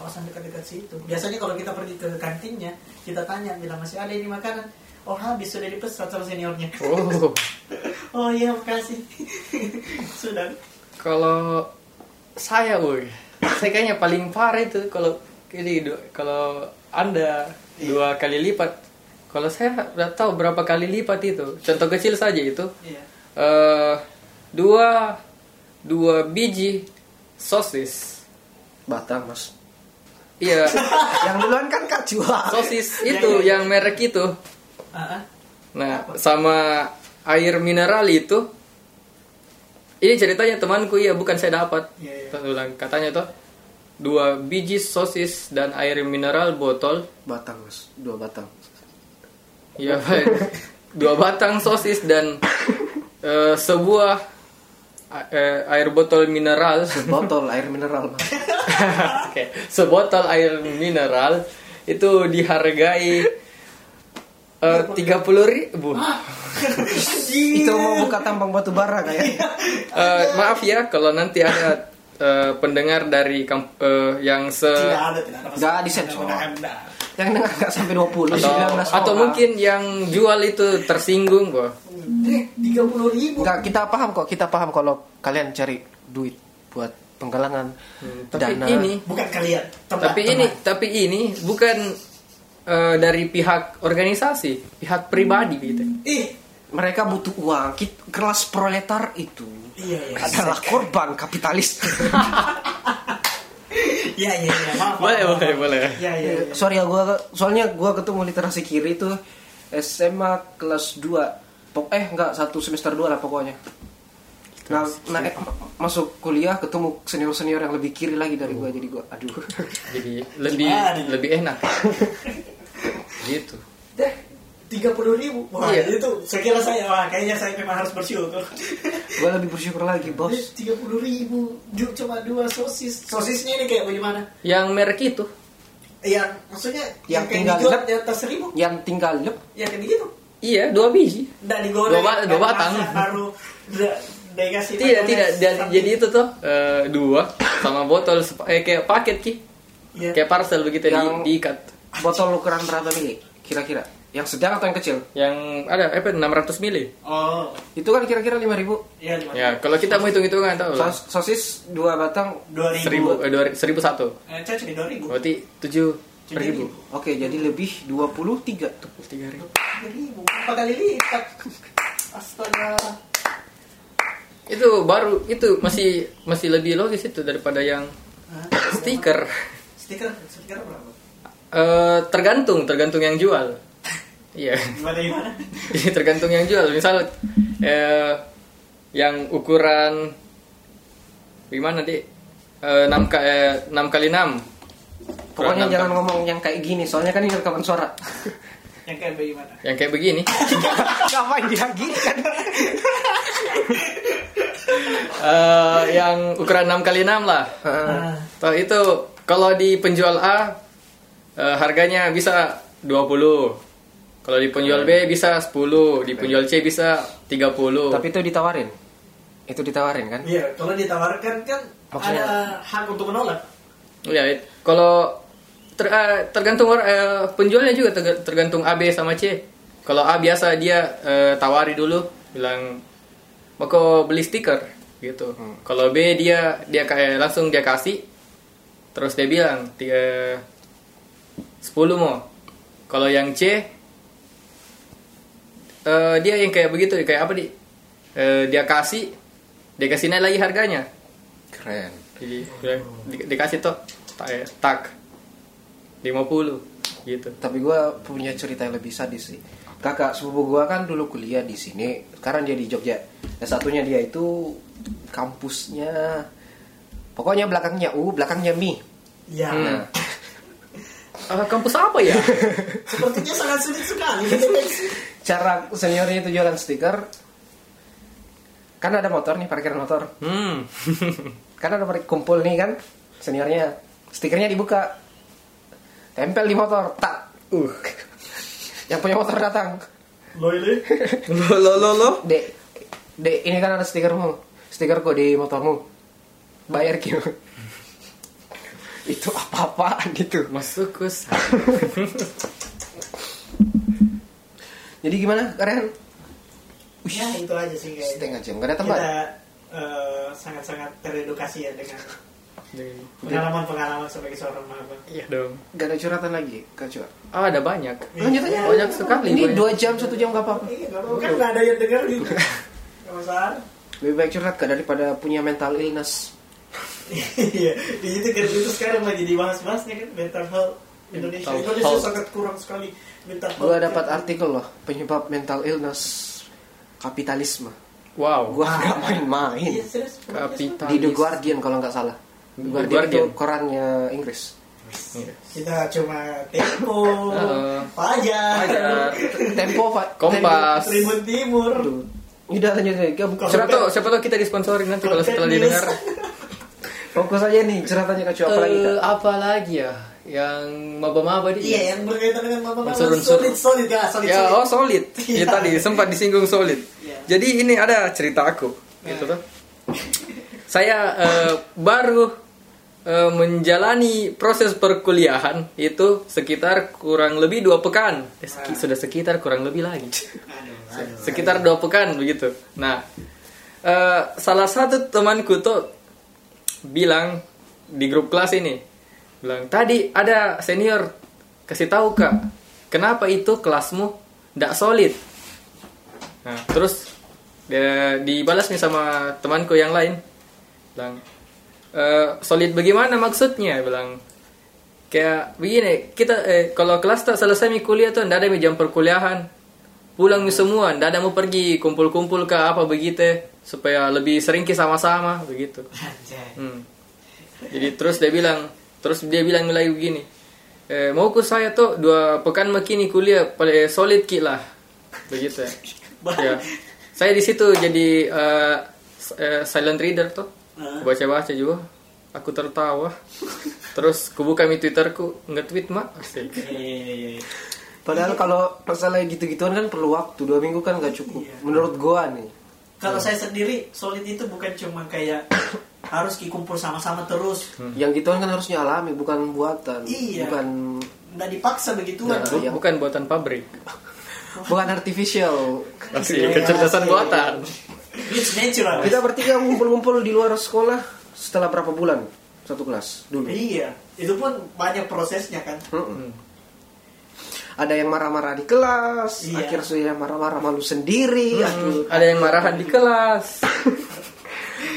kawasan dekat-dekat situ. Biasanya kalau kita pergi ke kantinnya, kita tanya bila masih ada ini makanan. Oh, habis sudah dipesan sama seniornya.
Oh.
Oh iya, makasih. Sudah.
Kalau saya, woi, saya kayaknya paling parah itu kalau jadi du- kalau anda dua kali lipat. Kalau saya udah tahu berapa kali lipat itu. Contoh kecil saja itu.
Iya.
eh dua dua biji sosis.
Batang, Mas.
Iya,
Yang duluan kan Kak jual.
sosis itu yang merek itu.
Ah, ah.
Nah, sama air mineral itu ini ceritanya temanku iya bukan saya dapat.
Iya, iya.
Terus ulang, katanya tuh dua biji sosis dan air mineral botol.
Batang, Mas. Dua batang.
Iya, Pak. dua batang sosis dan eh, sebuah a- eh, air botol mineral.
Botol air mineral, Mas.
Oke, sebotol air mineral itu dihargai eh, tiga puluh ribu.
Ah,
itu mau buka tambang batu bara ya? kayak.
Eh, maaf ya kalau nanti ada eh, pendengar dari kamp- eh, yang se
Tidak ada, tidak ada.
Nggak disensor.
Tidak ada.
Yang dengar nggak sampai 20,
atau,
Iya,
19
atau
orang.
mungkin yang jual itu tersinggung kok.
Eh, Tiga puluh ribu.
Nggak, kita paham kok. Kita paham kalau kalian cari duit buat penggalangan
Hmm, Tapi
dana.
ini
Bukan kalian. Tempat,
tapi
tempat.
ini tapi ini bukan eh, dari pihak organisasi, pihak pribadi
Hmm.
gitu.
Ih,
mereka butuh uang. Kit- Kelas proletar itu
iya iya.
adalah korban kapitalis.
Iya iya iya. Maaf.
Boleh,
maaf,
boleh,
maaf.
boleh.
Iya iya. iya.
Sorry ya gua soalnya gua ketemu literasi kiri itu SMA kelas 2. Pok eh enggak satu semester 2 lah pokoknya. Nah, nah, eh, masuk kuliah ketemu senior-senior yang lebih kiri lagi dari gua jadi gua aduh.
Jadi lebih
Gimana nih?
lebih enak. gitu.
Deh, Eh, tiga puluh ribu. Wah
Iya.
itu sekira saya. Wah kayaknya saya memang harus bersyukur.
Gua lebih bersyukur lagi, Bos.
Eh, Tiga puluh ribu. Ju- Cuma dua sosis. Sosisnya ini kayak bagaimana?
Yang merek itu
Yang Iya, maksudnya
Yang
yang, kayak
tinggal
dijual
lep.
di atas seribu.
Yang tinggal lep
Ya kayak gitu.
iya dua biji.
Nggak digoreng.
Dua ba- dua
nggak
batang.
dimasak, Baru nda- dikasih.
Tidak,
mayonnaise,
ya, tidak. Dan
samping.
jadi itu tuh eh, dua sama botol sepa- eh, kayak paket ki.
Iya.
Kayak parcel begitu di,
Yang-
diikat.
botol ukuran berapa nih? Kira-kira yang sedang atau yang kecil?
Yang ada eh, apa 600 mili.
Oh,
Itu kan kira-kira 5000.
iya lima
Ya, kalau kita mau hitung-hitungan tahu lah.
Sos- sosis dua batang.
dua ribu.
Seribu, Oh. eh, dua, seribu satu.
Eh, Cacu dua ribu.
Berarti tujuh ribu.
Oke, jadi lebih 23.
Tiga ribu.
ribu berapa kali lipat astaga
Itu baru itu masih masih lebih logis itu daripada yang
Hah?
stiker.
stiker stiker berapa
Eh, tergantung, tergantung yang jual. Iya.
gimana gimana
Jadi tergantung yang jual. Misal eh, yang ukuran gimana nanti eh, 6 k eh, 6 kali 6.
Pokoknya jangan ngomong yang kayak gini, soalnya kan ini rekaman suara.
yang kayak bagaimana
yang kayak begini
Ngapain dihagikan?
Eh, yang ukuran 6 kali 6 lah
Eh,
Ah,
Toh itu kalau di penjual A eh, harganya bisa 20 kalau di penjual B bisa 10 di penjual C bisa 30
Tapi itu ditawarin. Itu ditawarin kan?
iya kalau ditawarkan kan
Maksudnya-
ada hak untuk menolak
ya it- kalau ter- eh, tergantung or- eh, penjualnya juga terg- tergantung A B sama C kalau A biasa dia eh, tawari dulu bilang mau kau beli stiker gitu kalau B dia dia kayak langsung dia kasih terus dia bilang tiga 10 mau kalau yang C eh, dia yang kayak begitu kayak apa di Eh, dia kasih dia kasih naik lagi harganya
Keren.
jadi udah di- dikasih tuh eh, tak tak 50 gitu.
Tapi gua punya cerita yang lebih sadis sih. Kakak sepupu gua kan dulu kuliah di sini, sekarang dia di Jogja. Nah, satunya dia itu kampusnya pokoknya belakangnya U, belakangnya Mi.
ya
Hmm.
Nah,
Ah, kampus apa ya?
sepertinya sangat sulit sekali deteksi
cara seniornya itu jualan stiker kan ada motor nih parkiran motor
hmm.
kan ada mereka kumpul nih kan seniornya stikernya dibuka tempel di motor tak uh yang punya motor datang
loile
lo lo lo lo.
dek dek ini kan ada stikermu stikerku di motormu bayar kyu itu apa-apaan gitu
Masuk ke sa-
jadi gimana keren
ya itu aja sih kayaknya
setengah jam gak ada tempat
kita eh, sangat-sangat teredukasi ya dengan pengalaman-pengalaman sebagai seorang maba
Iya dong.
gak ada curhatan lagi kak curhat
Ah, ada banyak.
lanjut aja
Banyak sekali.
ini
banyak.
dua jam satu jam gak apa-apa
Iya, nggak apa-apa. kan nggak ada yang dengar gitu. Nggak masalah.
lebih baik curhat kak daripada punya mental illness
Iya, di itu kan itu sekarang lagi dibahas-bahasnya kan mental health Indonesia.
Mental
Indonesia
health.
sangat kurang sekali mental health.
Gua dapat artikel loh penyebab mental illness kapitalisme.
Wow.
Gua nggak
Iya,
main-main.
serius.
Kapitalis.
Di The Guardian kalau nggak salah. The
The
Guardian,
Guardian.
itu korannya Inggris.
Iya.
Kita cuma tempo,
Heeh.
pajak,
Ada
Tempo Pak.
Kompas.
Tribun Timur.
Tempo. Udah lanjut eh, lagi. Gak buka.
Siapa tahu siapa tahu kita disponsorin nanti kalau setelah
Konten
didengar.
news.
Fokus aja nih ceritanya Kak Cu apa lagi
Eh,
Kak?
apa lagi ya? Yang maba-maba dia.
Iya, yang berkaitan dengan mama-mama
Unsur-unsur.
solid solid ya, solid.
Ya,
solid.
oh solid. Ya
Iya.
tadi sempat disinggung solid.
Iya.
Jadi ini ada cerita aku, gitu tuh.
Iya.
Saya eh, baru eh, menjalani proses perkuliahan itu sekitar kurang lebih dua pekan. Eh, seki- Sudah sekitar kurang lebih lagi
Aduh, aduh.
sekitar dua pekan begitu. Nah, eh, salah satu temanku tuh bilang di grup kelas ini, bilang tadi ada senior kasih tahu kak, kenapa itu kelasmu tidak solid? Nah, terus dia dibalas nih sama temanku yang lain, bilang "Eh, solid bagaimana maksudnya? Bilang kayak begini kita eh, kalau kelas tak selesai mi kuliah tuh ndak ada mi jam perkuliahan pulang mi semua ndak ada mau pergi kumpul-kumpul ke apa begitu supaya lebih sering ki sama-sama begitu
Anjay.
Hmm. jadi terus dia bilang terus dia bilang lagi begini eh, mau ku saya tuh dua pekan makini kuliah paling solid ki lah begitu ya. ya saya di situ jadi eh, s- eh, silent reader tuh
Ah.
baca-baca juga aku tertawa terus kubuka mi twitterku nge-tweet mak Asik.
Iya, iya, iya, iya.
Padahal kalau masalah gitu-gituan kan perlu waktu dua minggu kan nggak cukup. Menurut gua nih.
Kalau saya sendiri solid itu bukan cuma kayak harus dikumpul sama-sama terus.
Yang gituan kan harusnya alami bukan buatan,
Iya.
bukan
Nggak dipaksa begitu
Nah,
kan.
bu- bukan buatan pabrik Iya.
bukan artificial.
masih kecerdasan buatan
Iya, It's natural.
Kita bertiga ngumpul-ngumpul di luar sekolah setelah berapa bulan satu kelas dulu.
Iya, itu pun banyak prosesnya kan.
Mm-mm. Ada yang marah-marah di kelas,
Iya. Hmm.
akhirnya marah-marah malu sendiri, aduh.
ada yang marahan di kelas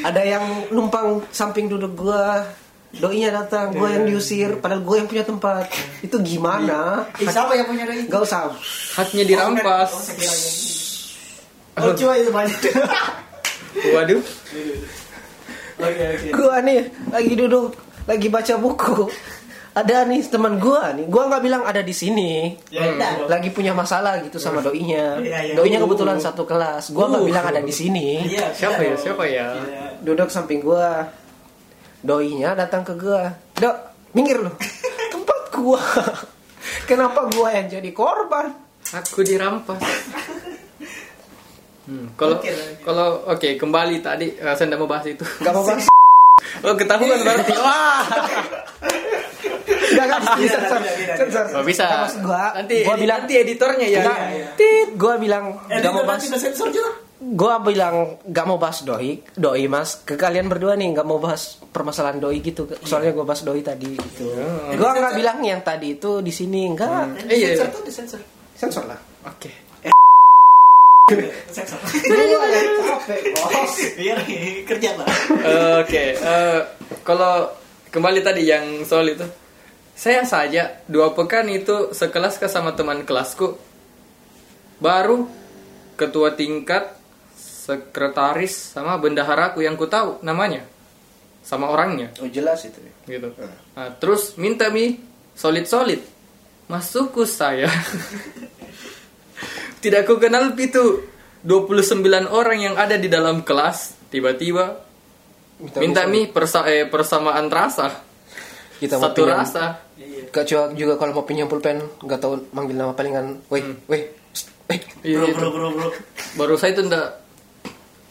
ada yang numpang samping duduk gua, doinya datang, gua
Iya.
yang diusir, padahal gua yang punya tempat. Itu gimana?
Eh, siapa yang punya dari?
Gak usah.
haknya
Oh,
dirampas
saya kira yang ini. Oh, cuma itu banyak.
waduh
Oke, oke.
Gua nih lagi duduk, lagi baca buku. ada nih teman gua nih gua nggak bilang ada di sini
Ya,
Hmm.
enggak.
lagi punya masalah gitu sama doinya
Iya, iya.
doinya
Uh.
kebetulan satu kelas gua nggak
Uh.
bilang ada di sini
Iya,
Siapa
iya
ya?
dong.
Siapa ya?
Iya.
duduk samping gua doinya datang ke gua dok minggir lu tempat gua kenapa gua yang jadi korban
Aku dirampas. Hmm, Kalau
Oke, lanjut.
kalau oke kembali tadi eh, saya tidak mau bahas itu.
nggak mau bahas
Oh ketahuan berarti. Wah.
nggak nggak bisa
Tidak,
sensor
tidak, tidak,
sensor
Nggak bisa.
Nggak maksud gua
Nanti
gua bilang
nanti editornya ya.
nggak
iya, iya.
tit gua bilang
Eh,
nggak mau
nanti
bahas
udah sensor juga.
gua bilang nggak mau bahas doi doi mas ke kalian berdua nih nggak mau bahas permasalahan doi gitu soalnya gua bahas doi tadi gitu
Ya.
gua nggak bilang yang tadi itu di sini nggak
Eh,
Iya, iya.
Sensor tuh di sensor.
sensor lah
Oke.
Sensor.
Capek, bos.
Iya, nih, kerja lah.
Eh, Oke. eh, kalau kembali tadi yang soal itu, saya saja dua pekan itu sekelas ke sama teman kelasku, baru ketua tingkat, sekretaris sama bendaharaku yang ku tahu namanya, sama orangnya.
oh jelas itu
gitu. Nah, terus minta mi solid solid masukku saya. Tidak ku kenal itu 29 orang yang ada di dalam kelas tiba-tiba minta mi persa- eh, persamaan rasa
kita mau
satu
pinjam
rasa.
kecuali juga kalau mau pinjam pulpen nggak tahu manggil nama palingan weh
Hmm.
weh psst, weh
Iya,
Bro,
gitu.
bro, bro, bro.
Baru saya itu ndak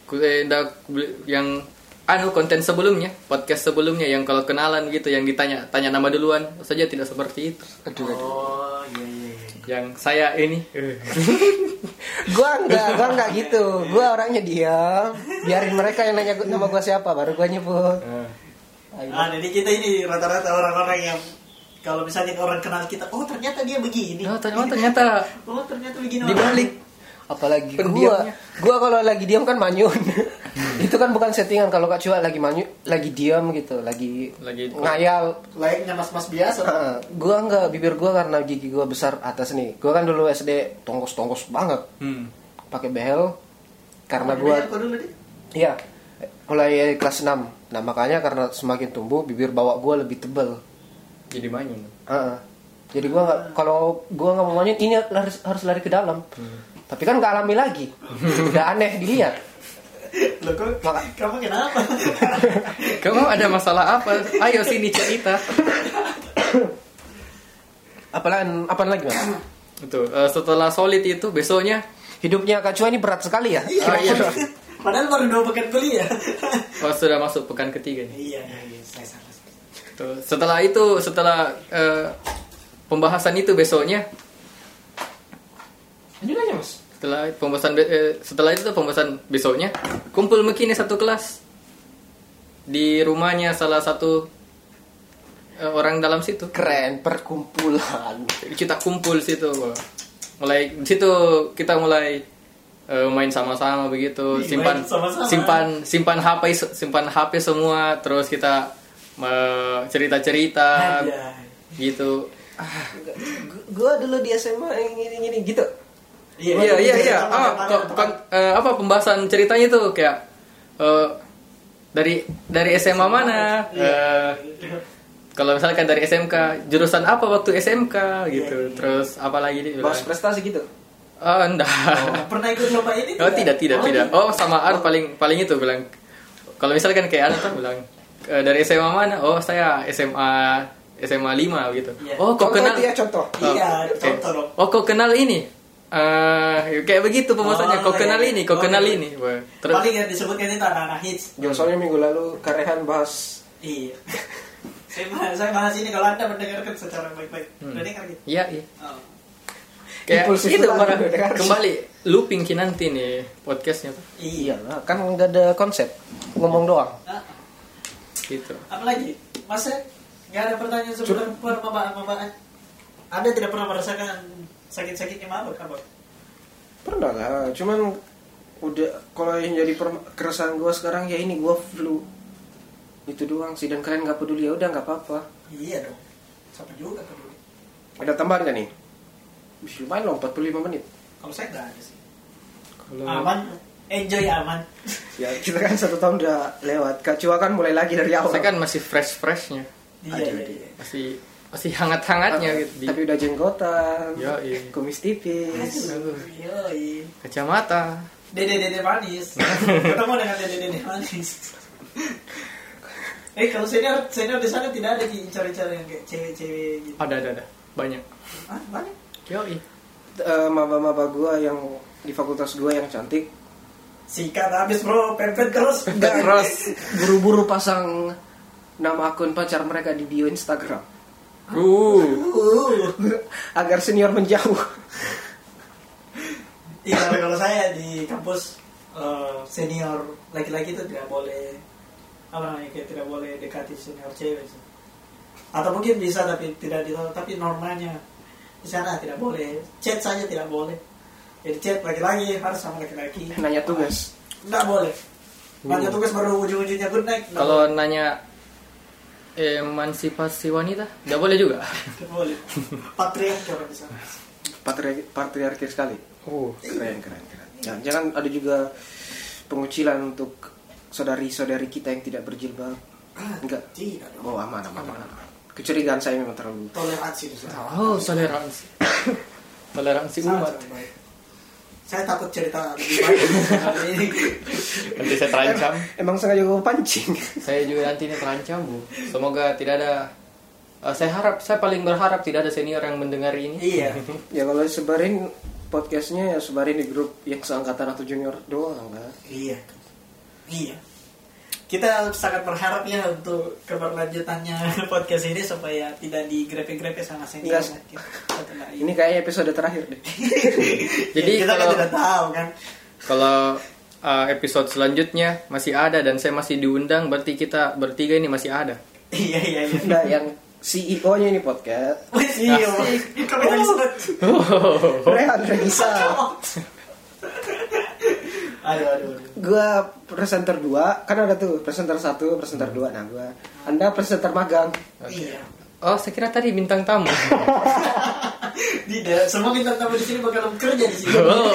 ku- eh, ndak beli- yang anu konten sebelumnya podcast sebelumnya yang kalau kenalan gitu yang ditanya tanya nama duluan saja tidak seperti itu
aduh aduh
Oh, iya, iya, iya.
yang saya ini eh.
gua enggak gua enggak gitu gua orangnya diam biarin mereka yang nanya gua- nama gua siapa baru gua nyebut
Nah.
Ah, jadi kita ini rata-rata orang-orang yang kalau misalnya orang kenal kita, oh ternyata dia begini.
Oh, ternyata, ternyata
Oh, ternyata begini. orang.
dibalik.
apalagi gua
Pendiamnya.
gua kalau lagi diam kan manyun itu kan bukan settingan kalau kak Cua lagi manyun lagi diam gitu lagi,
Lagi-
ngayal
Layaknya mas-mas biasa.
Heeh, gua enggak bibir gua karena gigi gua besar atas nih. Gua kan dulu SD tongkos-tongkos banget,
Hmm.
pakai behel karena
Ini
gua
apa dulu nih?
iya mulai kelas 6. Nah, makanya karena semakin tumbuh bibir bawah gua lebih tebel.
Jadi manyun.
Heeh. Jadi gua nggak- kalau gua nggak mau manyun ini harus, harus lari ke dalam. Tapi kan nggak alami lagi. Udah aneh dilihat.
Loh, kok-
Maka-
kamu kenapa?
Kamu ada masalah apa? Ayo sini cerita.
Apalagi apaan lagi, Mas?
Itu eh, setelah solid itu besoknya
Hidupnya Kak Cua ini berat sekali ya.
oh, iya.
Padahal baru dua pekan kuliah.
Oh, sudah masuk pekan ketiga nih.
iya, iya, iya, saya salah.
Tuh, Gitu. Setelah itu setelah eh, pembahasan itu besoknya
Lanjut aja, Mas.
setelah pembahasan be- eh, setelah itu tuh pembahasan besoknya kumpul mekini satu kelas di rumahnya salah satu eh, orang dalam situ.
Keren perkumpulan.
kita kumpul situ Bro. mulai di situ kita mulai eh, main sama-sama begitu
Ih,
simpan
main sama-sama.
simpan simpan HP se- simpan HP semua terus kita eh, cerita-cerita
Anjay.
gitu
gue dulu di SMA yang gini-gini gitu
iya iya iya
sama
Ah,
depannya,
kok-
depan.
kon- eh, apa pembahasan ceritanya tuh kayak eh, dari dari SMA mana Eh, kalau misalkan dari SMK jurusan apa waktu SMK gitu terus apa lagi dia bilang,
bahas prestasi gitu
"Ah, enggak
Pernah ikut lomba ini?
Oh tidak tidak
Oh,
tidak. Oh sama Ar paling paling itu bilang. Kalau misalkan kayak Ar tuh bilang "E, dari SMA mana? Oh saya SMA SMA 5 gitu.
Iya.
Oh kok kenal?
itu ya contoh
Oh,
Iya,
oke.
contoh dong.
Oh kok kenal ini? Eh kayak begitu pembahasannya.
Oh,
kok kenal
iya.
ini? Kok
Oh,
kenal
iya.
ini? Wah, Terus
Paling yang disebutkan itu anak-anak hits.
Ya, soalnya minggu lalu Karehan bahas
Iya. saya, bahas, saya bahas ini kalau anda mendengarkan secara baik-baik. Mendengar gitu.
iya iya.
Oh.
Kayak
Impulsif
itu
banget,
orang
dengar.
kembali looping ki nanti nih podcastnya tuh.
iya
Iya.
lah kan nggak ada konsep ngomong doang
Ah,
Nah,
gitu.
apalagi? Masa nggak ada pertanyaan sebelum permabaan-mabaan? Anda tidak pernah merasakan sakit-sakitnya mabuk, apa?
pernah lah cuman udah kalau yang jadi per- keresahan gue sekarang ya ini gue flu itu doang sih dan kalian nggak peduli ya udah nggak apa-apa
Iya dong. Sama juga kan peduli.
ada tambahan gak nih Wih, lumayan loh 45 menit
Kalau saya nggak ada sih.
Kalau
Aman. Enjoy aman.
ya kita kan satu tahun udah lewat Kak Cua kan mulai lagi dari awal
saya kan masih fresh freshnya
Iya,
Aduh,
iya,
aduh.
iya.
masih masih hangat-hangatnya
Ah.
gitu di
Tapi udah jenggotan,
Yoi.
kumis tipis.
Aduh, iya. yoi.
kacamata.
Dede Dede Manis. Ketemu dengan Dede Dede Manis. eh kalau senior senior di sana tidak ada Ki, incar-incar yang kayak cewek-cewek gitu.
Ada ada ada banyak.
Ah, banyak.
Yoi.
Eh, maba-maba gua yang di fakultas gua yang cantik
Sikat habis bro, pepet terus.
terus buru-buru pasang nama akun pacar mereka di bio Instagram
Ah.
Uh.
Uh,
agar senior menjauh.
Iya, tapi kalau saya di kampus eh, senior laki-laki itu tidak boleh apa namanya kayak tidak boleh dekati senior cewek sih. Atau mungkin bisa tapi tidak di tapi normanya di sana tidak boleh. Chat saja tidak boleh. Jadi chat laki-laki harus sama laki-laki.
Nanya tugas.
Tidak boleh. Nanya tugas baru ujung-ujungnya good night. Nggak
Kalau nanya emansipasi wanita, nggak boleh juga.
boleh. Nggak boleh. Patriarki orang di sana.
Patriar- Patriarki sekali.
Oh.
Keren, keren, keren. Jangan, jangan ada juga pengucilan untuk saudari-saudari kita yang tidak berjilbab. Enggak.
Tidak dong.
Oh, aman, aman, aman. aman. Kecurigaan saya memang terlalu
Toleransi di sana.
Oh, toleransi. toleransi
Sangat
umat.
baik. Saya takut cerita lebih banyak hari ini.
Nanti saya terancam.
Emang sengaja gue pancing.
saya juga nanti ini terancam, Bu. Semoga tidak ada eh, saya harap, saya paling berharap tidak ada senior yang mendengar ini.
Iya.
ya kalau sebarin podcastnya ya sebarin di grup yang seangkatan atau junior doang enggak.
Iya. Iya. Kita sangat berharap ya untuk keberlanjutannya podcast ini supaya tidak digrepe-grepe sama
Iya.
senior. Kita- kita nggak
Ini kayaknya episode terakhir deh.
Jadi
kita kan
kalau-
tidak tahu kan.
Kalau eh, episode selanjutnya masih ada dan saya masih diundang, berarti kita bertiga ini masih ada.
Iya iya iya.
Nah, yang CEO-nya ini podcast.
Wih, iya. Kami
Oh,
tadi sempat.
Rehan Renisa.
Aduh aduh. aduh.
Gua presenter dua, kan ada tuh presenter satu, presenter dua. Nah, gua Anda presenter magang.
Iya.
Oh, saya kira tadi bintang tamu.
Tidak, semua bintang tamu di sini bakal kerja di sini.
Oh,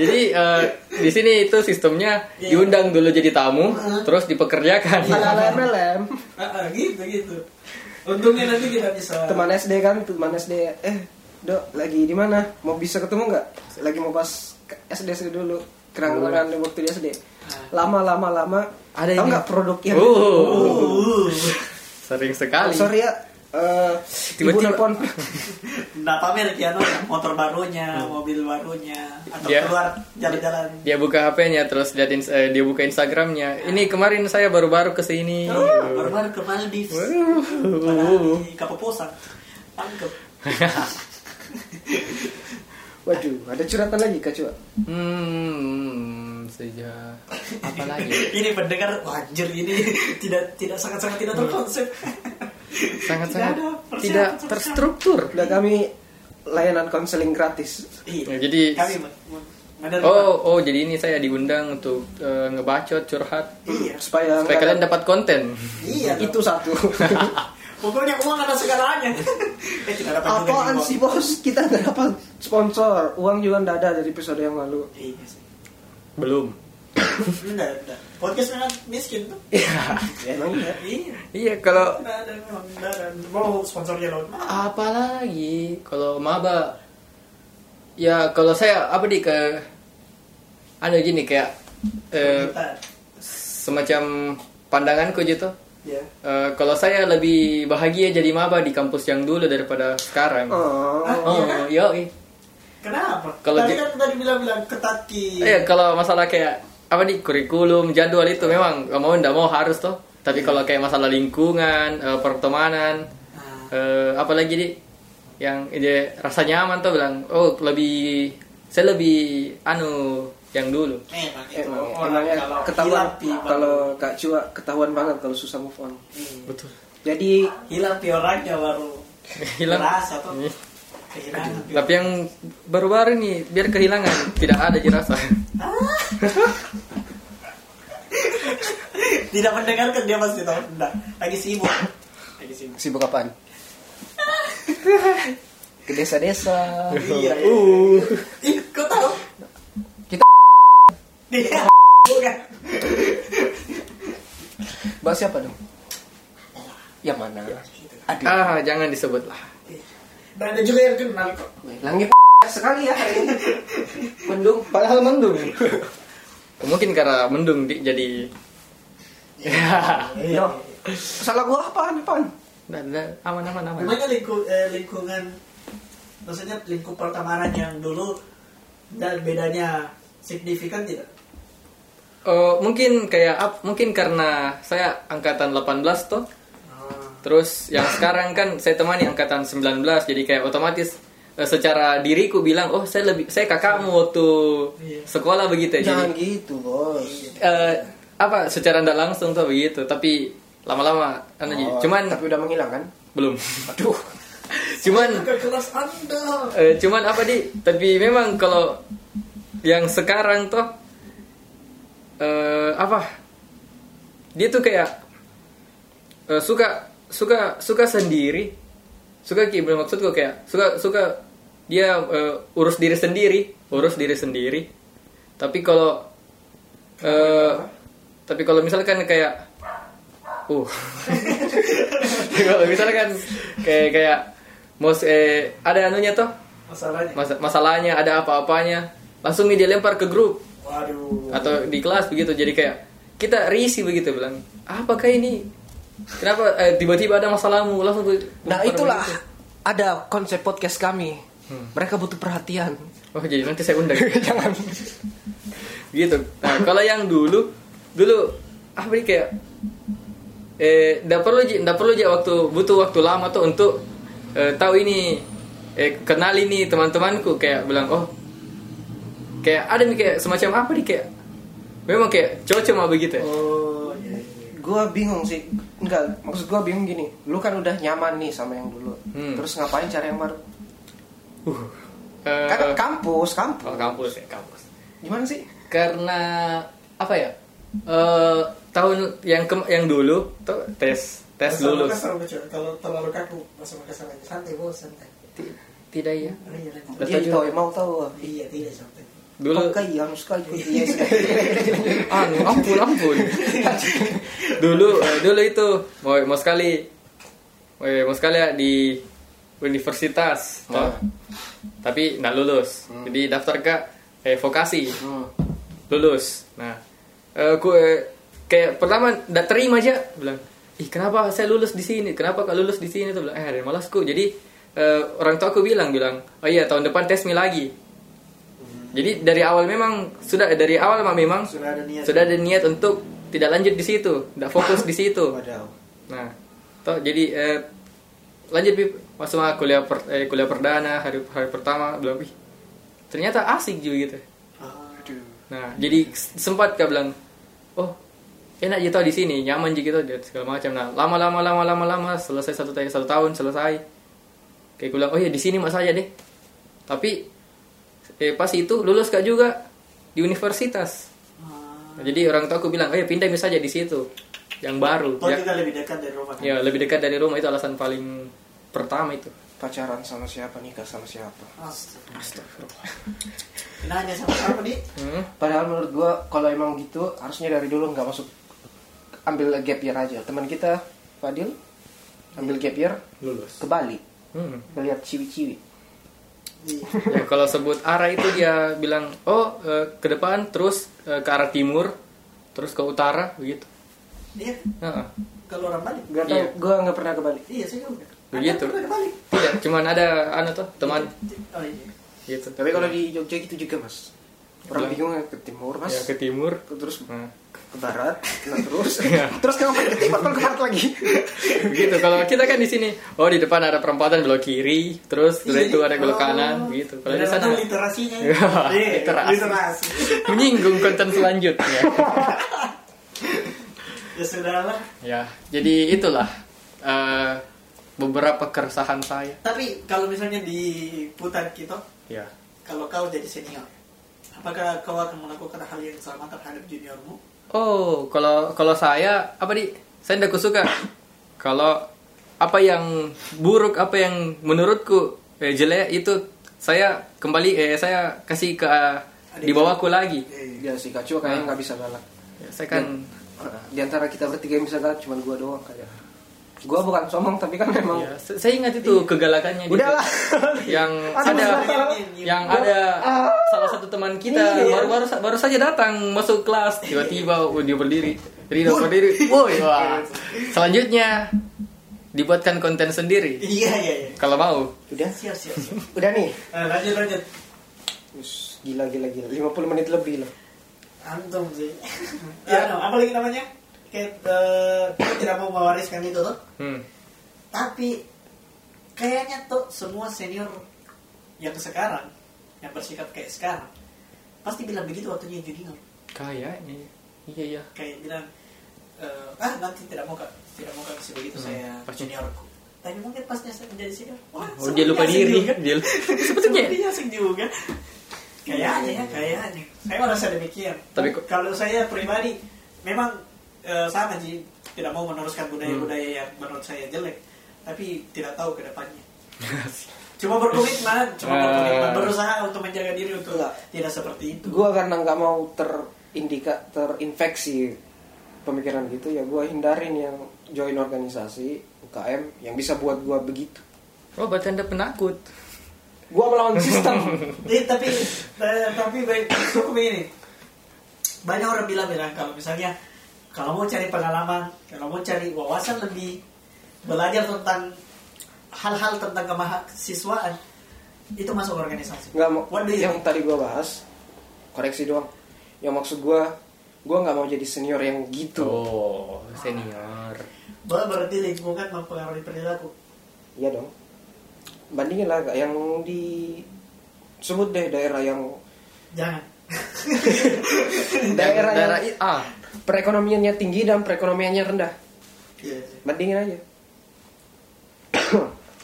jadi eh, di sini itu sistemnya
Iya.
diundang dulu jadi tamu,
Heeh. Iya.
terus dipekerjakan.
Ala MLM.
Ah, ah, gitu gitu. Untungnya nanti kita bisa.
Teman SD kan, teman SD. Eh, Dok, lagi di mana? Mau bisa ketemu nggak? Lagi mau pas ke SD SD dulu. Kerangkangan waktu di SD. Lama-lama lama.
Oh. Ah.
Tahu
Ada ini.
nggak produknya?
Oh,
Uh,
sering
Oh,
sekali.
sorry ya. Eh, ibu
Tiba-tiba.
telepon.
nah pamer piano motor barunya, mobil barunya, atau
Dia-
keluar jalan-jalan.
Dia buka HP-nya, terus liatin, eh, dia buka Instagramnya. Ini kemarin saya baru-baru kesini.
Oh, Baru-baru ke Maldives, Padahal di Kapoposan, tangkep.
Waduh, ada curhatan lagi Kak Cua.
Hmm, sejak apa lagi?
Ini pendengar wajar ini tidak tidak sangat-sangat tidak terkonsep.
Sangat-sangat
Tidak ada persiapan
tidak
sama sekali.
terstruktur.
Udah kami layanan konseling gratis.
Nah,
Iya.
jadi
Kami men- men- menerima.
oh oh jadi ini saya diundang untuk eh, ngebacot curhat
Iya.
Supaya,
supaya kalian dapat konten.
Iya.
itu satu.
Pokoknya uang ada segalanya. eh tidak dapat juga
Apaan
nih uang.
sih bos? Kita nggak dapat sponsor. Uang juga nggak ada dari episode yang lalu.
Iya sih.
Belum.
Enggak, enggak. Podcast memang miskin tuh.
Iya, emang ya.
Iya.
Iya kalau
Enggak ada memang enggak ada. Mau sponsornya laut.
apalagi kalau maba ya kalau saya apa di ke ada gini kayak eh, semacam pandanganku gitu
Ya.
Eh, kalau saya lebih bahagia jadi maba di kampus yang dulu daripada sekarang
Oh,
oh yo
Kenapa?
Kalau
tadi
di-
kan tadi bilang-bilang ketat ki.
Iya.
Eh, kalau masalah kayak apa di kurikulum jadwal itu memang nggak mau nggak mau harus tuh tapi kalau kayak masalah lingkungan eh, pertemanan
Ah,
eh apalagi di yang dia rasa nyaman tuh bilang oh lebih saya lebih anu yang dulu
Emang itu
emang ya.
orang
Emangnya
kalau
ketahuan
hilang pi
kalau Kak Cua ketahuan banget kalau susah move on.
Hmm.
betul
Jadi
hilang pi orangnya baru
hilang
terasa tuh
Iya.
kehilangan. pi.
tapi yang baru-baru nih biar kehilangan tidak ada dirasa
Tidak mendengarkan dia pasti tahu. Enggak. Lagi sibuk. Lagi sibuk.
sibuk apaan? Ke desa-desa.
Iya. iya.
uh
Ih, kau tahu?
Ya, Kita-
Iya. Bukan.
Bahas siapa dong?
yang mana? Aduh.
Ah, jangan disebut lah.
Dan ada juga yang kenal kok.
Langit sekali ya hari ini.
Mendung.
Padahal mendung.
Mungkin karena mendung Dik, jadi
Iya. Salah gua apaan apaan?
Nah, nah, aman aman aman.
Memangnya lingku- eh, lingkungan, maksudnya lingkup pertemanan yang dulu dan bedanya signifikan tidak?
Eh, mungkin kayak up, mungkin karena saya angkatan 18 tuh.
Ah.
Terus yang sekarang kan saya temani angkatan 19 jadi kayak otomatis eh, secara diriku bilang oh saya lebih saya kakakmu waktu
Iya.
sekolah begitu ya.
Jangan
Jadi
gitu, Bos.
eh, apa secara tidak langsung tuh begitu tapi lama-lama kan jadi.
Oh,
cuman
tapi udah menghilang kan?
belum. Aduh. cuman
Ke kelas anda.
eh, cuman apa di tapi memang kalau yang sekarang tuh eh apa dia tuh kayak eh, suka suka suka sendiri suka ki maksudku kayak suka suka dia eh, urus diri sendiri urus diri sendiri tapi kalau eh, tapi kalau misalkan kayak uh kalau misalkan kayak kayak mos eh, ada anunya tuh
Masalahnya.
mas- masalahnya ada apa-apanya langsung nih dia lempar ke grup
Waduh.
atau di kelas begitu jadi kayak kita risih begitu bilang apakah ini kenapa eh, tiba-tiba ada masalahmu langsung gitu." gue-
Nah
lempar
itulah
begitu.
ada konsep podcast kami.
Hmm.
Mereka butuh perhatian.
oh jadi nanti saya undang jangan gitu nah kalau yang dulu dulu apa nih kayak eh ndak perlu Ji, ndak perlu aja waktu butuh waktu lama tuh untuk eh, tahu ini eh kenal ini teman-temanku kayak bilang oh kayak ada nih kayak semacam apa nih kayak memang kayak cocok mah begitu ya
Oh, gua bingung sih. Enggak, maksud gua bingung gini. Lu kan udah nyaman nih sama yang dulu.
Hmm.
Terus ngapain cari yang baru?
Eh,
Kan kampus, kampus.
Oh, kampus ya, kampus.
Gimana sih?
Karena apa ya? Eh tahun yang ke yang dulu tuh tes tes kan?
Bahasa
lulus.
Makassar, Bocor. Kalau terlalu kaku, bahasa Makassar aja. Santai, bos, santai.
Ti- Tidak ya.
Aduh, iya, lanjut.
Betul
Jadi
juga.
toy mau tahu.
Iya, tidak santai.
Dulu
Kau yang suka ikut dia.
anu ampun ampun. dulu eh, dulu itu mau mau sekali mau, mau sekali ya di universitas toh.
Oh.
Tapi nggak lulus. Jadi daftar ke eh, vokasi.
Hmm.
lulus nah eh, gue kayak pertama nggak terima aja bilang ih kenapa saya lulus di sini kenapa kak lulus di sini tuh bilang eh ada yang malas ku jadi eh, orang tua aku bilang bilang oh iya tahun depan tesmi lagi jadi dari awal memang sudah dari awal mah memang
Sudah ada niat.
sudah ada niat untuk tidak lanjut di situ tidak fokus di situ
Padahal.
nah toh jadi eh, lanjut Bib. masuk mah kuliah per- eh, kuliah perdana hari hari pertama bilang "Wih, ternyata asik juga gitu
Aduh.
Nah, jadi sempat kau bilang, oh enak aja tau di sini, nyaman aja gitu dan segala macam. Nah, lama-lama lama-lama lama selesai satu tahun satu tahun selesai. Kayak gue bilang, oh ya di sini mas aja deh. Tapi eh, pas itu lulus kak juga di universitas.
Ah.
Nah, jadi orang tua aku bilang, oh ya pindah mis aja di situ, yang baru.
Oh,
Toh
gitu.
Ya,
juga lebih dekat dari rumah.
ya, lebih dekat dari rumah itu alasan paling pertama itu.
Pacaran sama siapa, nikah sama siapa.
Astaga.
Astagfirullah.
Nanya sama siapa, Di?
Hmm.
Padahal menurut gua kalau emang gitu harusnya dari dulu nggak masuk ambil gap year aja. Teman kita Fadil ambil gap year
Lulus.
ke Bali
Hmm.
melihat ciwi-ciwi.
Iya.
ya kalau sebut arah itu dia bilang oh eh, ke depan terus eh, ke arah timur terus ke utara begitu
Dia
Heeh.
kalau orang balik.
Gak tau,
Iya.
gua nggak pernah ke Bali.
Iya, saya juga.
Begitu.
Anda pernah balik.
tidak cuman ada anu tuh teman
Oh iya.
gitu
Tapi kalau di Jogja gitu juga mas. Orang
Bilang-
bingung Iya. ke timur mas,
ya ke timur
terus
Nah,
ke barat, nah terus, terus kenapa ke timur, kalau ke barat lagi?
begitu kalau kita kan di sini oh di depan ada perempatan belok kiri terus setelah itu ada
Oh.
belok kanan gitu kalau di
Ada
sana
satu Oh. literasinya.
Iya,
Iya,
literasi.
Literasi.
menyinggung konten selanjutnya
Ya sudahlah.
ya jadi itulah eh, beberapa keresahan saya
Tapi kalau misalnya di putar kita,
ya
kalau kau jadi senior, apakah kau akan melakukan hal yang sama terhadap juniormu?
Oh, kalau kalau saya apa di? Saya tidak suka. kalau apa yang buruk, apa yang menurutku eh, jelek itu saya kembali eh saya kasih ke eh, di bawahku lagi.
Iya.
Iya sih kacau kayaknya nggak bisa galak.
Ya, Saya kan
Di antara kita bertiga yang bisa galak cuma gua doang kayak. Gua bukan sombong tapi kan memang
Ya, se- saya ingat itu kegalakannya dia.
udahlah. Iya.
yang
Aduh,
ada Ah.
salah.
yang ada salah satu teman kita baru-baru sa- baru saja datang masuk kelas tiba-tiba oh, dia berdiri Rino berdiri woi Iya, wah. selanjutnya dibuatkan konten sendiri
Iya iya iya.
kalau mau
Udah,
Siap siap. siap.
udah nih.
Nah, lanjut lanjut.
Us, Gila gila gila. 50 menit lebih lah.
Antum sih. ya, no, apa lagi namanya? Kayak eh, kita tidak mau mewariskan itu tuh.
hmm.
Tapi kayaknya tuh semua senior yang sekarang yang bersikap kayak sekarang pasti bilang begitu waktunya junior.
kayaknya iya iya
Kayak bilang eh, ah nanti tidak mau kak, tidak mau kak kasih
Hmm.
begitu saya
pasti.
juniorku. Tapi mungkin pasnya saya menjadi senior. Wah, ya,
oh dia lupa
sepertinya
diri
senior.
dia sebetulnya ya? Iya,
Sepertinya asing juga. Kayaknya ya, kayaknya. Saya merasa demikian.
Tapi kok-
kalau saya pribadi, memang eh, sama sih. Tidak mau meneruskan budaya-budaya
Hmm.
yang menurut saya jelek. Tapi tidak tahu ke depannya. Cuma berkomitmen, cuma
Eh. Iya.
berkomitmen. Berusaha untuk menjaga diri untuk tidak seperti itu.
Gua karena nggak mau terindika terinfeksi pemikiran gitu ya gua hindarin yang join organisasi UKM yang bisa buat gua begitu.
oh berarti anda penakut
Gua melawan sistem.
Eh, tapi eh, tapi baik cukup ini. Banyak orang bilang bilang kalau misalnya kalau mau cari pengalaman, kalau mau cari wawasan lebih, belajar tentang hal-hal tentang kemahasiswaan itu masuk organisasi.
nggak mau
What do you
yang
think?
tadi gua bahas koreksi doang yang maksud gua gua nggak mau jadi senior yang gitu
oh senior
Ber- berarti lingkungan mempengaruhi perilaku.
iya dong bandingin lah yang di sebut deh daerah yang
Jangan.
daerah,
daerah
yang
I- ah
perekonomiannya tinggi dan perekonomiannya rendah bandingin aja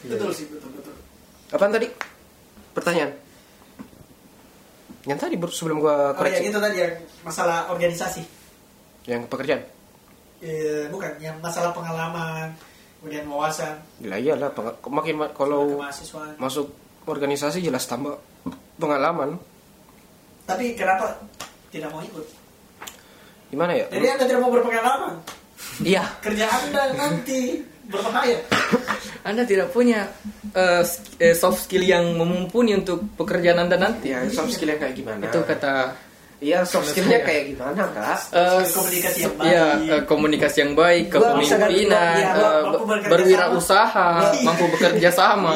Betul sih, betul betul.
apaan tadi pertanyaan yang tadi baru sebelum gua
Oh ya,
koreksi
itu tadi yang masalah organisasi.
yang pekerjaan
Eh, bukan, yang masalah pengalaman, kemudian wawasan,
gila iyalah peng- makin ma- kalau
kemahasiswaan.
masuk organisasi jelas tambah pengalaman
Tapi kenapa tidak mau ikut?
gimana ya
Jadi anda tidak mau berpengalaman.
iya
Kerja anda nanti berbahaya.
anda tidak punya eh, sk- eh, soft skill yang mumpuni untuk pekerjaan anda nanti
Ya, soft skillnya kayak gimana?
Ya.
itu kata
Iya, soft skillnya
saya.
kayak gimana, Kak?
Eh,
Komunikasi yang baik.
Iya, eh, komunikasi yang baik,
Gua bisa ganti-
kepemimpinan,
iya,
eh,
mampu bekerja
berwirausaha,
sama. Iya.
mampu bekerja sama.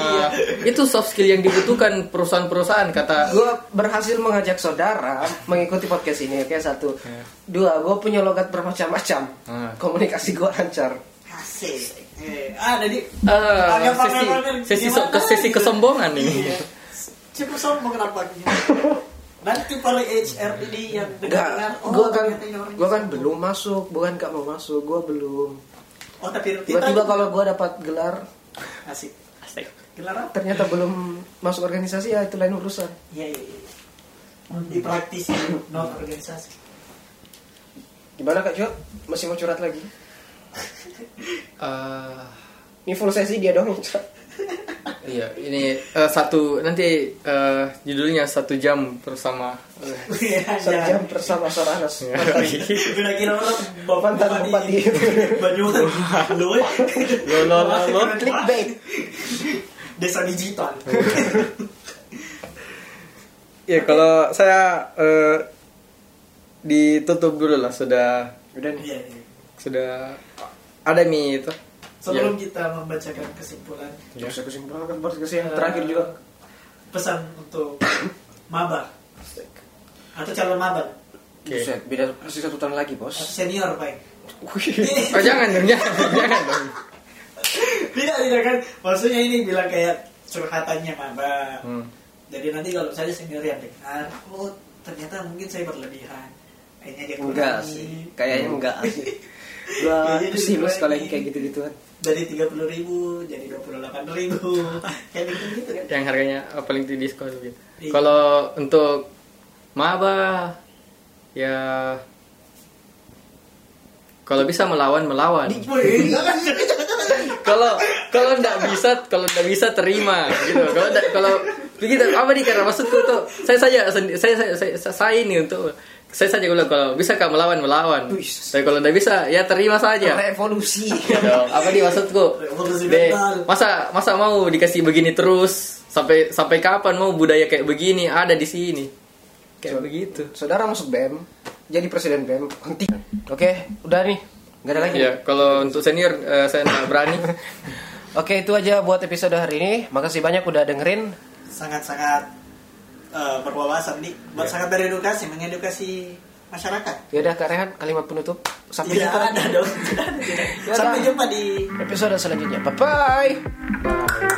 Itu soft skill yang dibutuhkan perusahaan-perusahaan
Iya.
kata
Gue berhasil mengajak saudara mengikuti podcast ini, oke Ah. satu, dua, gue punya logat bermacam-macam,
Hmm.
komunikasi gue lancar.
Asik. Eh, ah, jadi
eh,
agak
sesi
pamer-pamer
sesi
gimana
so- ke- sesi
gitu.
kesombongan ini.
Iya. Cukup sombong kenapa? gitu. Nanti para HRD yang dengar,
Enggak, gue kan,
ternyata ini orang
gua kan
sombong.
belum masuk, bukan gak mau masuk, gue belum.
Oh tapi kita-
Tiba-tiba kalau gue dapat gelar,
asik.
Asik.
Gelar apa?
ternyata belum masuk organisasi, ya itu lain urusan.
Iya iya. iya.
Hmm.
Di praktisi non organisasi.
Gimana Kak Jo? Masih mau curhat lagi?
Eh,
Ini full sesi dia dong yang curhat.
iya, ini eh, satu nanti eh, judulnya satu jam bersama.
Satu jam bersama Soranas.
Ya.
Bila kira orang
Mantan bupati.
Banyuwangi Lu eh.
Lo, lo, lo, lo.
Keren
Clickbait.
Desa digital
Iya, kalau saya eh, ditutup dulu lah sudah
Udah
Ya.
nih.
Iya, iya.
sudah ada mi itu.
Sebelum
Iya.
kita membacakan kesimpulan
Ya. Bisa kesimpulan kan baru kasih yang terakhir
eh,
juga.
Pesan untuk Maba Atau calon Maba
Oke.
Buset, Gitu, beda masih satu tahun lagi bos.
Senior baik
Oh jangan dong, jangan, jangan dong.
Tidak tidak kan Maksudnya ini bilang kayak curhatannya Maba
Hmm.
Jadi nanti kalau misalnya senior yang dengar Oh ternyata mungkin saya berlebihan Kayaknya dia
Enggak
kurangi.
sih, kayaknya enggak sih. Iya, Gua
Kayaknya
sih
dikurangi.
kalau yang kayak kan. gitu-gituan.
dari tiga puluh ribu jadi dua puluh delapan ribu kayak gitu gitu kan
Yang harganya eh, paling tinggi diskon gitu.
Iya.
Kalau untuk maba ya kalau bisa melawan melawan. Kalau kalau nggak bisa kalau nggak bisa terima gitu. Kalau gitu, nggak- kalau begitu apa nih karena maksudku tuh saya saja sendi- saya saya saya, saya ini untuk saya saja bilang kalau bisa kak melawan melawan
Wih.
tapi kalau tidak bisa ya terima saja
Revolusi.
Dong, apa nih maksudku
Revolusi
Deh,
mental.
masa masa mau dikasih begini terus sampai sampai kapan mau budaya kayak begini ada di sini kayak begitu
Saudara masuk BEM, jadi presiden BEM, henti.
Oke, udah nih.
Gak ada lagi.
ya kalau untuk senior eh, saya tidak berani
Oke, itu aja buat episode hari ini. Makasih banyak udah dengerin.
sangat-sangat eh, berwawasan nih, sangat beredukasi, mengedukasi masyarakat.
Yaudah Kak Rehan, kalimat penutup. Sampai
Tidak
jumpa
ada dong. Sampai jumpa di
episode selanjutnya. Bye bye.
Bye.